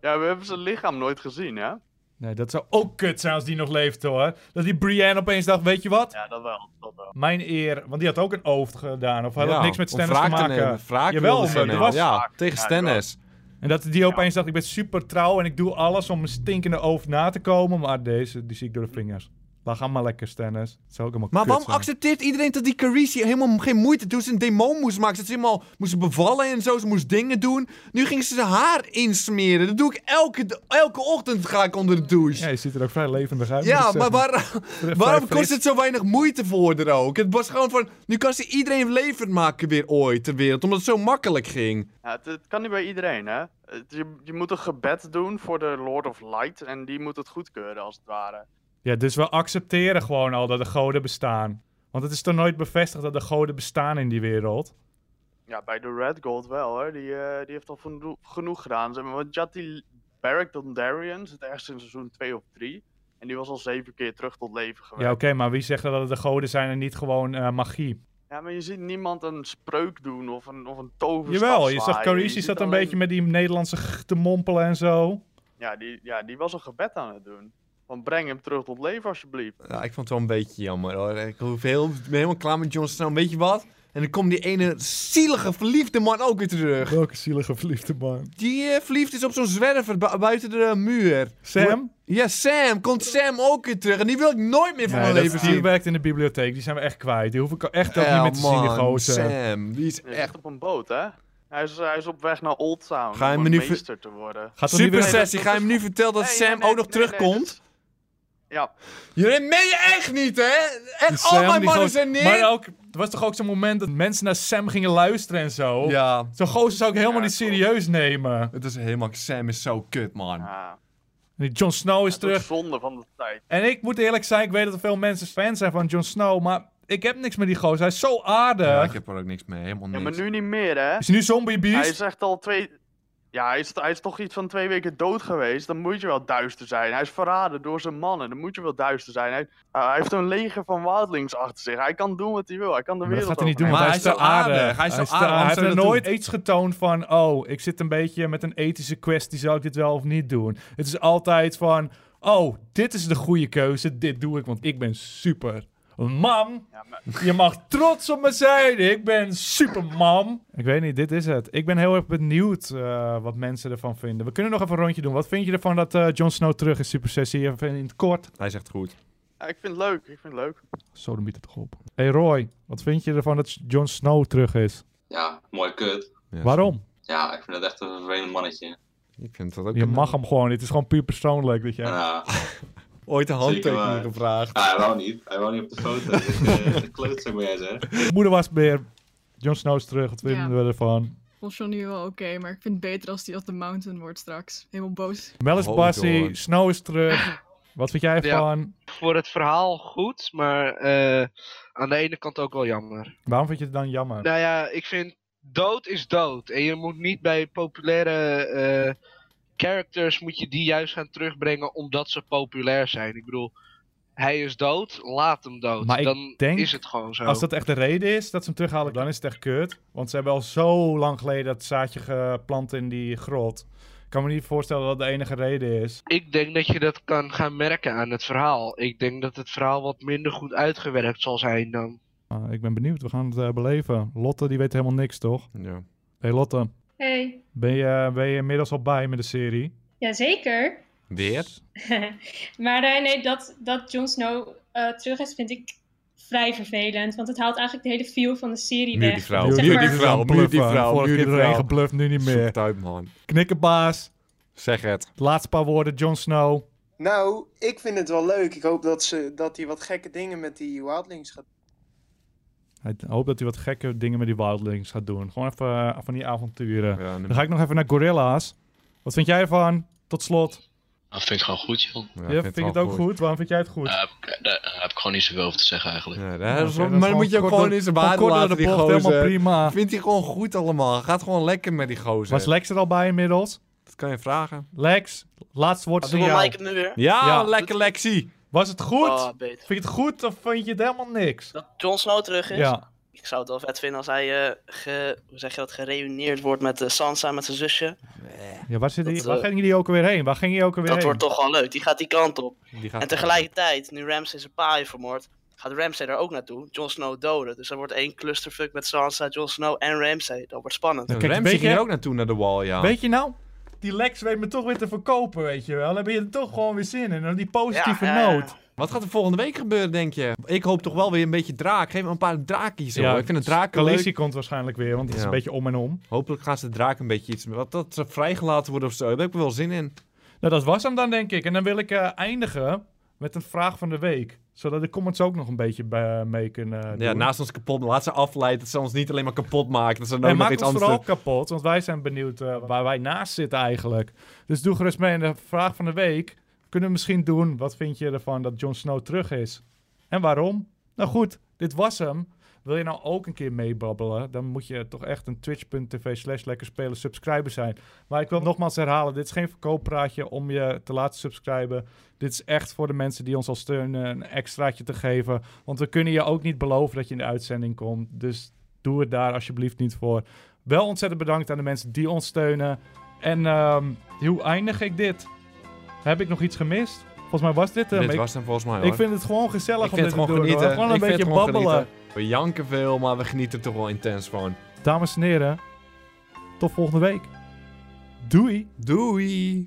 F: Ja, we hebben zijn lichaam nooit gezien, hè?
A: Nee, dat zou ook kut zijn als die nog leeft hoor. Dat die Brienne opeens dacht, weet je wat?
F: Ja, dat wel. Dat wel.
A: Mijn eer, want die had ook een ooft gedaan. Of hij had
B: Ja,
A: niks met
B: om
A: Stennis te
B: wraak
A: maken.
B: nemen. Wraak
A: Jawel,
B: wilden ze
A: maar er
B: nemen.
A: was-
B: ja, tegen
F: Ja,
B: Stennis.
A: En dat die opeens dacht, ik ben super trouw en ik doe alles om mijn stinkende ooft na te komen. Maar deze, die zie ik door de vingers. Laat hem maar lekker Stennis. Dat zou ook helemaal
B: Maar
A: kut
B: waarom
A: zijn.
B: accepteert iedereen dat die Carisi helemaal geen moeite toen ze een demon moest maken? Dat ze helemaal moest bevallen en zo, ze moest dingen doen. Nu ging ze zijn haar insmeren. Dat doe ik elke, elke ochtend ga ik onder de douche.
A: Ja,
B: Ja,
A: je ziet er ook vrij levendig uit. moet ik
B: maar
A: zeggen.
B: waar-
A: Vrij
B: waarom
A: fris.
B: kost het zo weinig moeite voor er ook? Het was gewoon van, nu kan ze iedereen levend maken weer ooit ter wereld, omdat het zo makkelijk ging.
F: Ja, het, het kan niet bij iedereen, hè? Het- je, je moet een gebed doen voor de Lord of Light en die moet het goedkeuren, als het ware.
A: Ja, dus we accepteren gewoon al dat de goden bestaan. Want het is toch nooit bevestigd dat de goden bestaan in die wereld?
F: Ja, bij de Red Gold wel, hoor. Die, eh, die heeft al voldo- genoeg gedaan. Zeg maar, want Jatti Barrack Dondarrion zit ergens in seizoen 2 of 3. En die was al zeven keer terug tot leven
A: Ja,
F: geweest.
A: oké, maar wie zegt dat het de goden zijn en niet gewoon eh, magie?
F: Ja, maar je ziet niemand een spreuk doen of een, of een toverstaf
A: Jawel, je
F: zwaaien.
A: zag Carisi
F: ziet
A: zat een
F: alleen-
A: beetje met die Nederlandse g- te mompelen en zo.
F: Ja die, ja, die was een gebed aan het doen. Van breng hem terug tot leven alsjeblieft.
B: Ja, ik vond het wel een beetje jammer hoor. Ik hoef heel, ben helemaal klaar met Jon Snow. Weet je wat? En dan komt die ene zielige verliefde man ook weer terug.
A: Welke zielige verliefde man.
B: Die eh, verliefd is op zo'n zwerver bu- buiten de eh, muur.
A: Sam?
B: Ja, Sam. Komt Sam ook weer terug. En die wil ik nooit meer van
A: Nee,
B: mijn
A: dat
B: leven
A: die
B: zien.
A: werkt in de bibliotheek. Die zijn we echt kwijt. Die hoef ik echt ook niet
B: Ja,
A: meer te zien, die
B: man,
A: gozer.
B: Sam. Die is
F: Hij
B: echt...
F: zit op een boot, hè? Hij is, hij is op weg naar Old Town
B: Ga je
F: om
B: me
F: een
B: nu ver-
F: meester te worden.
A: Gaat er niet
B: Super
A: weer...
F: dat-
B: sessie.
F: dat
B: Ga je
F: is
B: hem nu
F: goed.
B: vertellen dat
F: Nee,
B: Sam
F: nee, nee,
B: ook nog
F: nee, nee, dus-
B: terugkomt?
F: Ja,
B: Jullie meen je echt niet, hè? Echt,
A: Sam,
B: al Oh, mijn
A: die
B: mannen
A: gozer-
B: zijn neer.
A: Maar ook, er was toch ook zo'n moment dat mensen naar Sam gingen luisteren en zo.
B: Oh. Ja,
A: Zo'n gozer zou ik helemaal
F: Ja,
A: niet
F: klopt.
A: serieus nemen. En
B: het is helemaal... Sam is zo kut, man.
F: ah,
A: die Jon Snow is
F: het is
A: terug.
F: zonde van de tijd.
A: En ik moet eerlijk zijn, ik weet dat er veel mensen fan zijn van Jon Snow, maar ik heb niks met die gozer. Hij is zo aardig.
B: Ja, ik heb er ook niks mee. Helemaal
F: Ja,
B: niks.
F: maar nu niet meer, hè?
A: Is hij nu zombie beast?
F: Hij is echt al twee... Ja, hij is, hij is toch iets van twee weken dood geweest. Dan moet je wel duister zijn. Hij is verraden door zijn mannen. Dan moet je wel duister zijn. Hij, uh, hij heeft een leger van wildlings achter zich. Hij kan doen wat hij wil. Hij kan de
A: Maar dat
F: wereld
A: gaat hij niet doen,
F: overnemen.
A: want hij is
B: Maar hij
A: te
B: is zo aardig.
A: aardig.
B: Hij is zo
A: te aardig.
B: aardig, waarom
A: Hij heeft
B: zou
A: er
B: je dat
A: nooit iets getoond van... oh, ik zit een beetje met een ethische kwestie... zou ik dit wel of niet doen? Het is altijd van... oh, dit is de goede keuze, dit doe ik... want ik ben super. Mam,
F: Ja, maar-
A: je mag trots op me zijn. Ik ben super mam. Ik weet niet, dit is het. Ik ben heel erg benieuwd eh, wat mensen ervan vinden. We kunnen nog even een rondje doen. Wat vind je ervan dat eh Jon Snow terug is, Super Sessie? Even in het kort.
B: Hij zegt goed.
F: Ja, ik vind het leuk. Ik vind het leuk.
A: Zo, dan biedt het toch op. Hey Roy, wat vind je ervan dat Jon Snow terug is?
G: Ja, mooi kut.
B: Ja,
A: Waarom?
G: Ja, ik vind het echt een vervelend mannetje.
B: Ik vind dat ook
A: Je mag hem gewoon. Het is gewoon puur persoonlijk. Dat
B: Ah.
A: je...
G: Ja.
B: Ooit een
G: Zeker
B: handtekening
G: waar.
B: gevraagd.
G: Ah, eh, hij wou niet. Hij wou niet op de foto. Dat is eh, de klootzak ben jij zeg.
A: Moeder was weer. Jon Snow is terug. Wat vinden
E: Ja.
A: we ervan?
E: Vond John nu wel oké, maar ik vind het beter als die als de Mountain wordt straks. Helemaal boos.
A: Melis
B: Hold
A: Bassi,
B: on.
A: Snow is terug. Wat vind jij ervan?
D: Voor het verhaal goed, maar eh, aan de ene kant ook wel jammer.
A: Waarom vind je het dan jammer?
D: Nou ja, ik vind dood is dood. En je moet niet bij populaire eh, characters moet je die juist gaan terugbrengen omdat ze populair zijn. Ik bedoel, hij is dood, laat hem dood.
A: Maar ik
D: Dan
A: denk,
D: is het gewoon zo.
A: Als dat echt de reden is dat ze hem terughalen, dan is het echt kut. Want ze hebben al zo lang geleden dat zaadje geplant in die grot. Ik kan me niet voorstellen dat dat de enige reden is.
D: Ik denk dat je dat kan gaan merken aan het verhaal. Ik denk dat het verhaal wat minder goed uitgewerkt zal zijn dan.
A: Maar ik ben benieuwd. We gaan het eh, beleven. Lotte, die weet helemaal niks, toch?
B: Ja.
A: Hey Lotte,
I: Hey.
A: ben je, eh, ben je inmiddels al bij met de serie?
I: Jazeker.
B: Weer?
I: maar eh, nee, dat, dat Jon Snow eh, terug is, vind ik vrij vervelend. Want het haalt eigenlijk de hele feel van de serie
B: Nu
I: weg.
B: die vrouw.
I: Zeg
B: Nu
I: maar-
B: die vrouw. Nu die vrouw.
A: Vorige
B: Nu
A: keer
B: die
A: iedereen
B: vrouw.
A: gebluft, nu niet
B: Zoek
A: meer.
B: het uit, man.
A: Knikkenbaas.
B: Zeg het.
A: Laatste paar woorden, Jon Snow.
H: Nou, ik vind het wel leuk. Ik hoop dat ze dat hij wat gekke dingen met die Wildlings gaat
A: Hij hoopt dat hij wat gekke dingen met die Wildlings gaat doen. Gewoon even eh, van die avonturen.
B: Ja, nu-
A: Dan ga ik nog even naar Gorilla's. Wat vind jij ervan? Tot slot.
K: Dat Ah, vind ik gewoon goed, joh.
B: Ja,
A: Ja, vind je het
B: wel
A: ook goed. Waarom vind jij het goed?
K: Daar heb, ik, daar- daar heb ik gewoon niet zoveel over te zeggen eigenlijk.
B: Ja,
A: Ja,
B: dat is
A: oké,
B: wel-
A: dat is
B: maar dan moet je ook
A: kort
B: gewoon
A: door-
B: in zijn water
A: kort door
B: laten,
A: de
B: die
A: bocht,
B: gozer.
A: Helemaal prima.
B: Vindt hij gewoon goed allemaal. Gaat gewoon lekker met die gozer.
A: Was Lex er al bij inmiddels?
B: Dat kan je vragen.
A: Lex, laatste woord aan
H: doen.
A: jou.
H: het nu weer?
B: Ja,
A: Ja.
B: lekker Lexie.
A: Was het goed?
K: Ah,
H: beter.
A: Vind je het goed of vind je het helemaal niks?
H: Dat Jon Snow terug
A: Ja.
H: Ik zou het wel vet vinden als hij, eh, hoe zeg je dat, gereuneerd wordt met eh, Sansa, met zijn zusje.
A: ja waar, zit die,
H: Dat,
A: waar
H: eh,
A: gingen die ook alweer heen? Waar ging je ook alweer
H: Dat
A: heen?
H: wordt toch wel leuk. Die gaat die kant op.
B: Die gaat
H: En tegelijkertijd, nu Ramsay zijn pa heeft vermoord, gaat Ramsay daar ook naartoe. Jon Snow doden. Dus er wordt één clusterfuck met Sansa, Jon Snow en Ramsay. Dat wordt spannend.
A: Kijk,
B: Ramsey
A: weet je-
B: ging ook naartoe naar de wall,
H: Oh.
B: ja.
A: Weet je nou? Die Lex weet me toch weer te verkopen, weet je wel. Dan ben je er toch gewoon weer zin in. Dan Die positieve
H: Ja, ja, ja.
A: noot.
B: Wat gaat er volgende week gebeuren, denk je? Ik hoop toch wel weer een beetje draak. Geef me een paar draakjes, hoor. Ik vind het draken leuk.
A: Khaleesi komt waarschijnlijk weer, want het is
B: Ja.
A: een beetje om en om.
B: Hopelijk gaan ze de draak een beetje iets... Wat, dat ze vrijgelaten worden of zo. Daar heb ik wel zin in.
A: Nou, dat was hem dan, denk ik. En dan wil ik eh, eindigen met een vraag van de week. Zodat de comments ook nog een beetje bij- mee kunnen eh, doen.
B: Ja, naast ons kapot. Laat ze afleiden. Dat ze ons niet alleen maar kapot maken. Dat ze dan ook
A: en
B: nog
A: maak
B: iets
A: ons
B: anders
A: vooral kapot, want wij zijn benieuwd eh, waar wij naast zitten eigenlijk. Dus doe gerust mee. En de vraag van de week kunnen we misschien doen. Wat vind je ervan dat Jon Snow terug is? En waarom? Nou goed, dit was hem. Wil je nou ook een keer meebabbelen? Dan moet je toch echt een twitch.tv slash lekker spelen subscriber zijn. Maar ik wil nogmaals herhalen, dit is geen verkooppraatje om je te laten subscriben. Dit is echt voor de mensen die ons al steunen een extraatje te geven. Want we kunnen je ook niet beloven dat je in de uitzending komt. Dus doe het daar alsjeblieft niet voor. Wel ontzettend bedankt aan de mensen die ons steunen. En ehm, hoe eindig ik dit? Heb ik nog iets gemist? Volgens mij was dit hem.
B: Dit
A: Ik-
B: was hem volgens mij,
A: Ik
B: hoor.
A: vind het gewoon gezellig
B: Ik
A: om
B: vind
A: dit
B: het
A: te
B: gewoon
A: doen. hoor.
B: genieten.
A: Gewoon een
B: Ik vind
A: beetje
B: het gewoon
A: babbelen.
B: genieten. We janken veel, maar we genieten toch wel intens van.
A: Dames en heren, tot volgende week. Doei.
B: Doei.